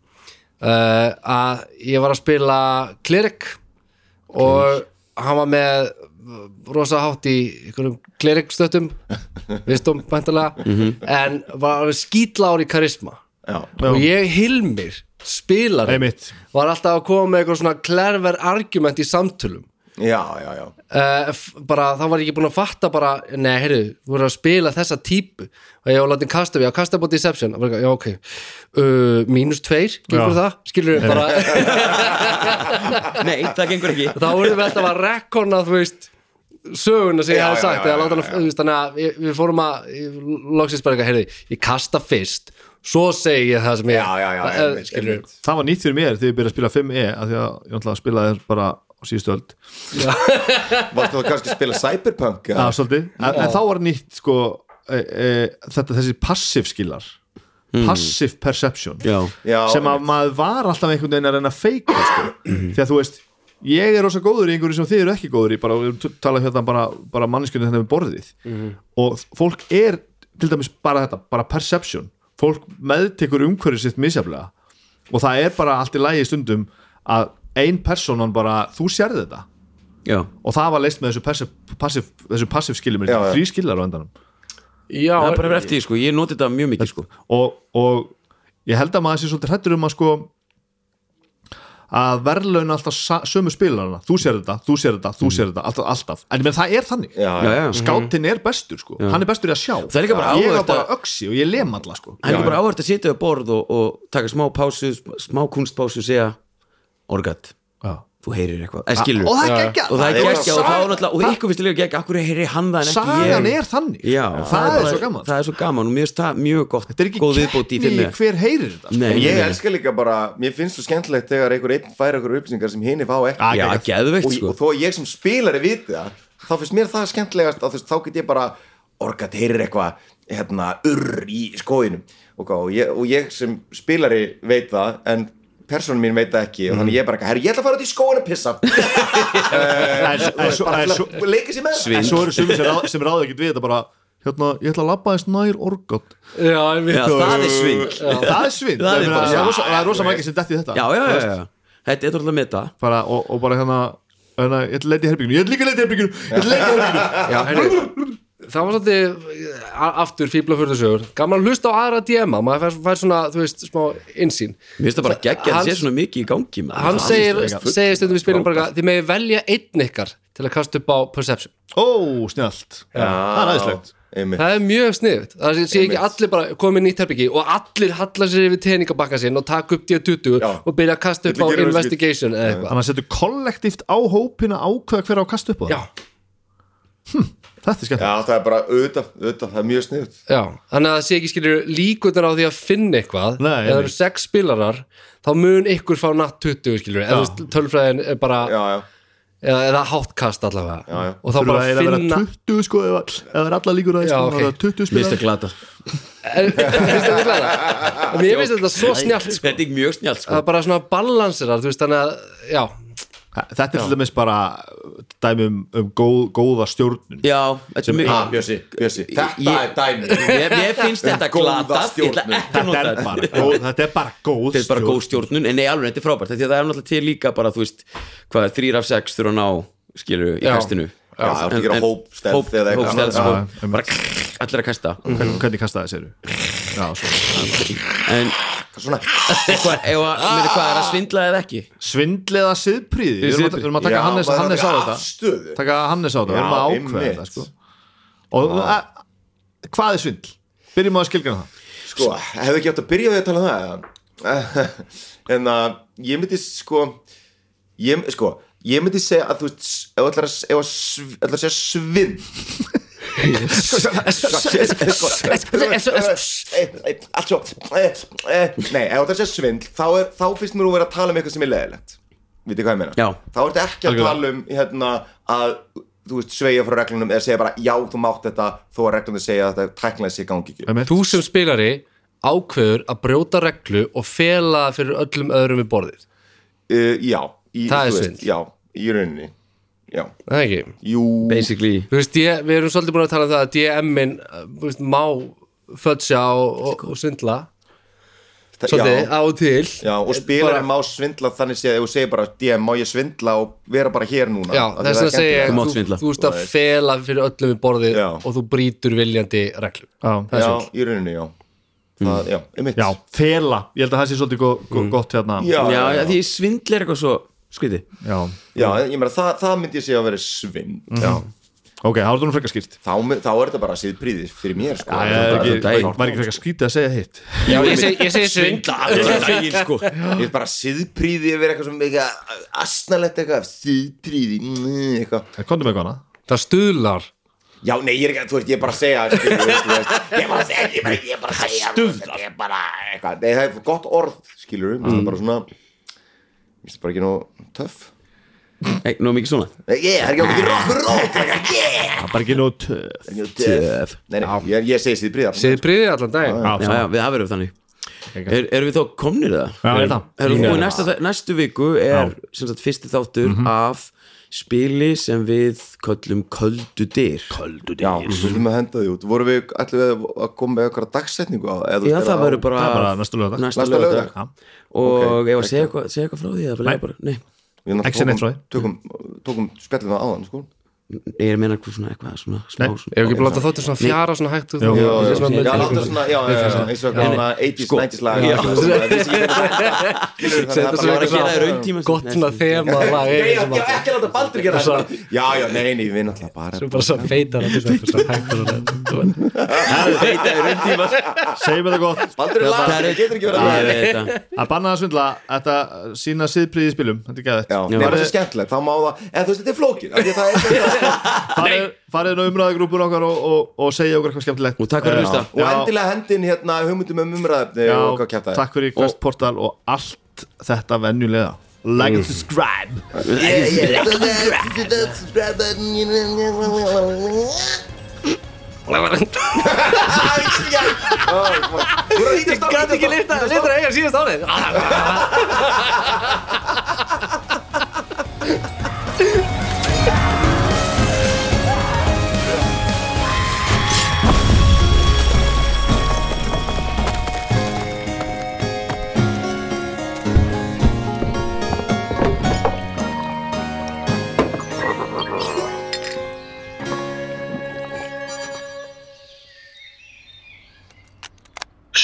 uh, að ég var að spila Klerik og hann var með rosa hátt í einhverjum Klerik stöttum vistum bæntalega
Mhm.
en var alveg skítlár í karisma
Já.
og ég hilmir spilar
Einmitt.
var alltaf að koma með eitthvað svona klerver argument í samtölum
já, já, já
uh, bara, þá var ég ekki búin að fatta bara, nei, heyrðu, þú voru að spila þessa típu og ég var látið kasta við, já, kasta bóti deception, og bara, já, ok uh, mínus tveir, gengur
Já.
það skilur við bara,
Nei, það gengur ekki
þá vorum við alltaf að rekona, þú veist söguna sem ég
Já,
hafði
já,
sagt
já,
eða láta
já,
hana- þú veist, þannig að við- við fórum að loksins bara eitthvað, heyrðu, ég kasta fyrst svo segi ég það sem ég
Já, já, já,
Eh,
einmitt,
skilur við.
einmitt.
það var nýtt fyrir mér þegar ég byrjaði að spila 5E af því að ég náttúrulega spilaði þér bara á síðustu öld
Varstu þá kannski að spila Cyberpunk?
ja.
eða?
svolítið, en, en þá var nýtt sko e, e, þetta þessi passive skillar passive perception
Já,
Já,
sem að maður var alltaf einhvern veginn að reyna að feika sko. því að þú veist ég er rosa góður í einhverju sem þið eru ekki góður í bara, við t- tala hérna bara, bara manneskjunni þetta með borðið og fólk er til dæmis bara þetta, bara perception fólk meðtekur umhverju sitt misjaflega og það er bara allt í lagi stundum að ein personan bara, þú sérði þetta
já
og það var leist með þessu passive, passive, þessu passive skilum
Já, já.
þrý skillar á endanum
já,
Það er bara eftir því, sko, ég noti þetta mjög mikið, sko
og, og ég held að maður sé svolítið hrættur um að sko að verðlauna alltaf sa- sömu spilarana þú sér þetta, þú sér þetta, þú sér þetta alltaf, alltaf. en menn, það er þannig
Mhm. Já,
Já,
já,
já
skáttinn er bestur sko, hann er bestur í að sjá
Það er líka bara
ég
áhugavert
er bara
að-
öksi og ég lem alla sko
Það er líka bara áhært að sitja við borð og, og taka smá pásu, sm- smá kunstpásu og segja Orgat,
Já.
þú heyrir eitthvað Eða skilur
og það er ekki
Og það er
Það er
geggja og það
sagan-
er náttúrulega og ykkur finnst líka geggja, akkur heyri hann það en ekki ég
sagan er þannig
Já,
það, er,
bara-
svo gaman
Það er svo gaman og mér finnst það mjög gott
þetta er
góð
ekki
viðbót í
keppni
filmi
í hver heyrir þetta sko.
Nei,
En
nei,
ég
nei.
elska líka bara, mér finnst þú skemmtilegt þegar einhver einn færi okkur upplýsingar sem hinn er fá ekki
Já, geðveikt,
og,
sko.
og þó að ég sem spilari viti það þá finnst mér það skemmtilegast að þú veist, þá get ég bara orgat heyrir eitthvað hérna, urr í skóinum og, og, ég, og ég sem spilari veit það en personum mín veit það ekki og þannig ég er bara, herru, ég ætla að fara út í skóin að pissa
En- en svo- en svo-
og leika sér með það
en svo eru sumir sem, ráð, sem ráða ekkert við þetta bara hérna, ég ætla að labba aðeins nær orgat
já, ég veit
Já, það er svindl
það er svind
Það er
Ég meina,
bara-
það er rosa- það er rosa mækið sem detti þetta
Já, já, já, já, já. Þetta er alltaf með það
bara, og, og bara hérna hérna, ég ætla að leita í herbygginu, ég ætla líka að leita í herbygginu ég ætla að leita í herbygginu
Já, heyrðu, það var svolítið a- aftur fíblafurðusögur gaman að hlusta á aðra DM-a maður fær, fær svona, þú veist, smá innsýn
Mér finnst það bara geggja að það sé
Hans-
svona mikið í gangi maður.
hann
Það
segir,
finnst það
segir stundum í spilum
frábært.
bara, þið megi velja einn ykkar til að kasta upp á perception
ó, snjált, það er aðeinslegt
einmitt.
það er mjög sniðut, það sé sé ekki allir bara komið nýtt herbyggi og allir hallar sér yfir teningabakka sinn og taka upp D20
Já.
og byrja að kasta upp
Þetta
á
gerir við
investigation eða eitthvað
þannig að setja kollektíft á hópina ákveða hver á að kasta upp á
já,
það þetta er skemmt
Já, það er bara auðvitað, auðvitað, það er mjög sniðut
já, þannig að það sé ekki skilur líkunar á því að finna eitthvað ef
Nei,
það
einmitt.
eru sex spilarar þá mun ykkur fá natt 20 skilur, eða þú veist, tölfræðin er bara
Já, já
eða, eða háttkast allavega
já.
og þá bara
Þurfa að vera
finna
20 sko eða eða það er alla líkur að
Já, ok.
það er 20
Mér finnst
spilar
það glata
En- Veistu þetta glæða? En mér finnst þetta svo snjált sko.
Þetta er mjög snjált sko
það er bara svona balansirar þú veist þannig að, já,
Þetta er til dæmis bara dæmi um, um góð, góða stjórnun
Já, þetta er mjög
Bjössi, Bjössi, þetta
Ég-
er dæmi
Mér mér finnst þetta
Góða
glata Ég ætla
stjórnun.
ekki að nota
þetta, er bara, góð, þetta er bara góð
þetta er bara góð
stjórn.
stjórnun en nei alveg þetta er frábært því að það er náttúrulega til líka bara þú veist hvað þrýr af sex þurfa að ná skilur í
Já.
kastinu
Já, þú ert ekki að gera hópstealth eða eitthvað
hópstelð
annað.
sko,
Já, einmitt.
bara krrr, allir að kasta
Mhm.
Hvernig, hvernig kastaði þessi eru? Já, svo.
en
Svona,
hvað, ef að, meni, hvað er að svindla eða ekki
Svindliða siðpríði Við erum að- við
Siðprýði.
erum að taka
Já,
Hannes,
maður
Hannes á
taka
þetta
afstöðu.
Taka Hannes á þetta, við
Já,
erum að ákveða
einmitt.
þetta sko. Og a, hvað er svindl? Byrjum á að skilgjana það
sko, hefðu ekki átt að byrja við að tala um það eða? en að ég myndi sko ég, sko, ég myndi segja að þú veist s- ef ætlar að, s- ef að, sv- ætlar að segja svinn sko, allt svo eh, nei, ef ætlar að segja svindl þá, er, þá finnst mér hún vera að tala um eitthvað sem er leðilegt veitir hvað ég meina
Já.
þá ertu ekki að tala um hérna, að þú veist, sveigja frá reglunum eða segja bara já, þú mátt þetta þó að reglunum segja að þetta tæknilega sé gangi ekki
þú sem spilari ákveður að brjóta reglu og fela það fyrir öllum öðrum við borðið
uh, já í,
Það er
þú
svindl.
já, í rauninni já,
Er það ekki,
jú
basically
þú veist, ég, við erum svolítið búin að tala um það að DM-in, þú veist, má fötsja og, og, og svindla
það-
svolítið
já,
á og til
já, og spilarinn
Bara-
má svindla þannig séð, ef þú segir bara DM, má ég svindla og vera bara hér núna
Já,
Af því
þess
það
að
er
segja
skemmtilegt.
Þú mátt
þú,
svindla.
þú veist að fela fyrir öllum við borðið
Já.
og þú brýtur viljandi reglum
Já,
já, í rauninni, já það, já, einmitt
já, fela, ég held að það sé svolítið go, go, gott hérna
Mm. já,
já,
já,
því svindla er eitthvað svo skriti
Já.
já, ég meina, það, það myndi ég segja að vera svindl já,
Ok, þá er það nú frekar skýrt
þá, mun- þá er þetta bara síðpríði fyrir mér, sko
Það
Það
er ekki,
bara daginn.
var ekki frekar skrítið að segja hitt
Já, ég segi, ég segi svindla
lægir sko
Ég er bara síðpríði yfir eitthvað sem eitthvað asnalegt eitthvað, síðpríði mm, eitthvað
Kondum eitthvað hana
Það stuðlar
Já, nei, ég er ekki, þú veist, ég er bara að segja skilur, þú veist, þú veist, Ég er bara að segja, ég er bara, ég er bara að segja Stundar Ég er bara, eitthvað, nei, það er gott orð, skilur við Það er bara svona Mér finnst það bara ekki nóg töff
nú mikið svona
Nei, Ég er ekki á mikið rock and roll krakkar, Ég
Það er bara ekki nóg töð
er ekki nóg töff Nei, nei, ég, ég segi síðbríða
Segði príðið allan daginn
já, já, við það verðum þannig er, erum við þá komnir það?
Já, er það. Já.
Herru, þú, sko, næsta, næstu viku er sem sagt fyrsti þáttur
Mhm.
af spili sem við köllum köldudyr köldudyr
Já, þú veistum að henda því út Vorum við allir að að koma með eitthvað dagsetningu á eða þú
Já,
veist,
það
er
verður bara,
Það er bara næsta laugardag.
næsta
Næsta
laugardag.
laugardag.
Og
Ok,
ef að segja eitthvað segja eitthvað frá því eða bara, bara, Nei,
Við náttúrulega
Ekki sem neitt frá því.
Tókum, tókum, tókum spjallina áðan, sko
ég er að meina eitthvað svona, eitthvað svona smá,
Nei.
Ef
svona.
ekki bara láta þáttir svona fjara svona hægt út
Jú,
Já,
Svona
já, já,
svona-
já, láta svona, já, já, já, eins og svona 80s, 90s lag
Já.
Setta
Þetta sem eitthvað
Ég var að gera
svona-
það rauntíma
Gott svona þema lag
Nei,
yfir
já,
sem
já,
að-
ekki láta Baldur gera það Já, já, nei, nei, við náttúrulega bara
sem bara svona feitar allir svona eitthvað svona hægt og svona-
Segjum þetta gott
Baldur er lag, það getur ekki verið að
Að banna að svindla Þetta sína síðpríði í spilum Þetta er
Já, nei,
geðið
það er skemmtilegt, þá má það eða þú veist, þetta er flókið af því að það er-
farið, farið inn á umræðagrúpur okkar og, og, og segja okkur eitthvað skemmtilegt
Og takk fyrir að hlusta.
og endilega hendin hérna hugmyndum um umræðefni
Já,
og hvað kjátt það er.
takk fyrir Quest Portal og allt þetta venjulega like
Mm.
and subscribe
Yeah, yeah, that's- that's- that's- Ég
Gat ekki lifta, lifta eiga síðast árið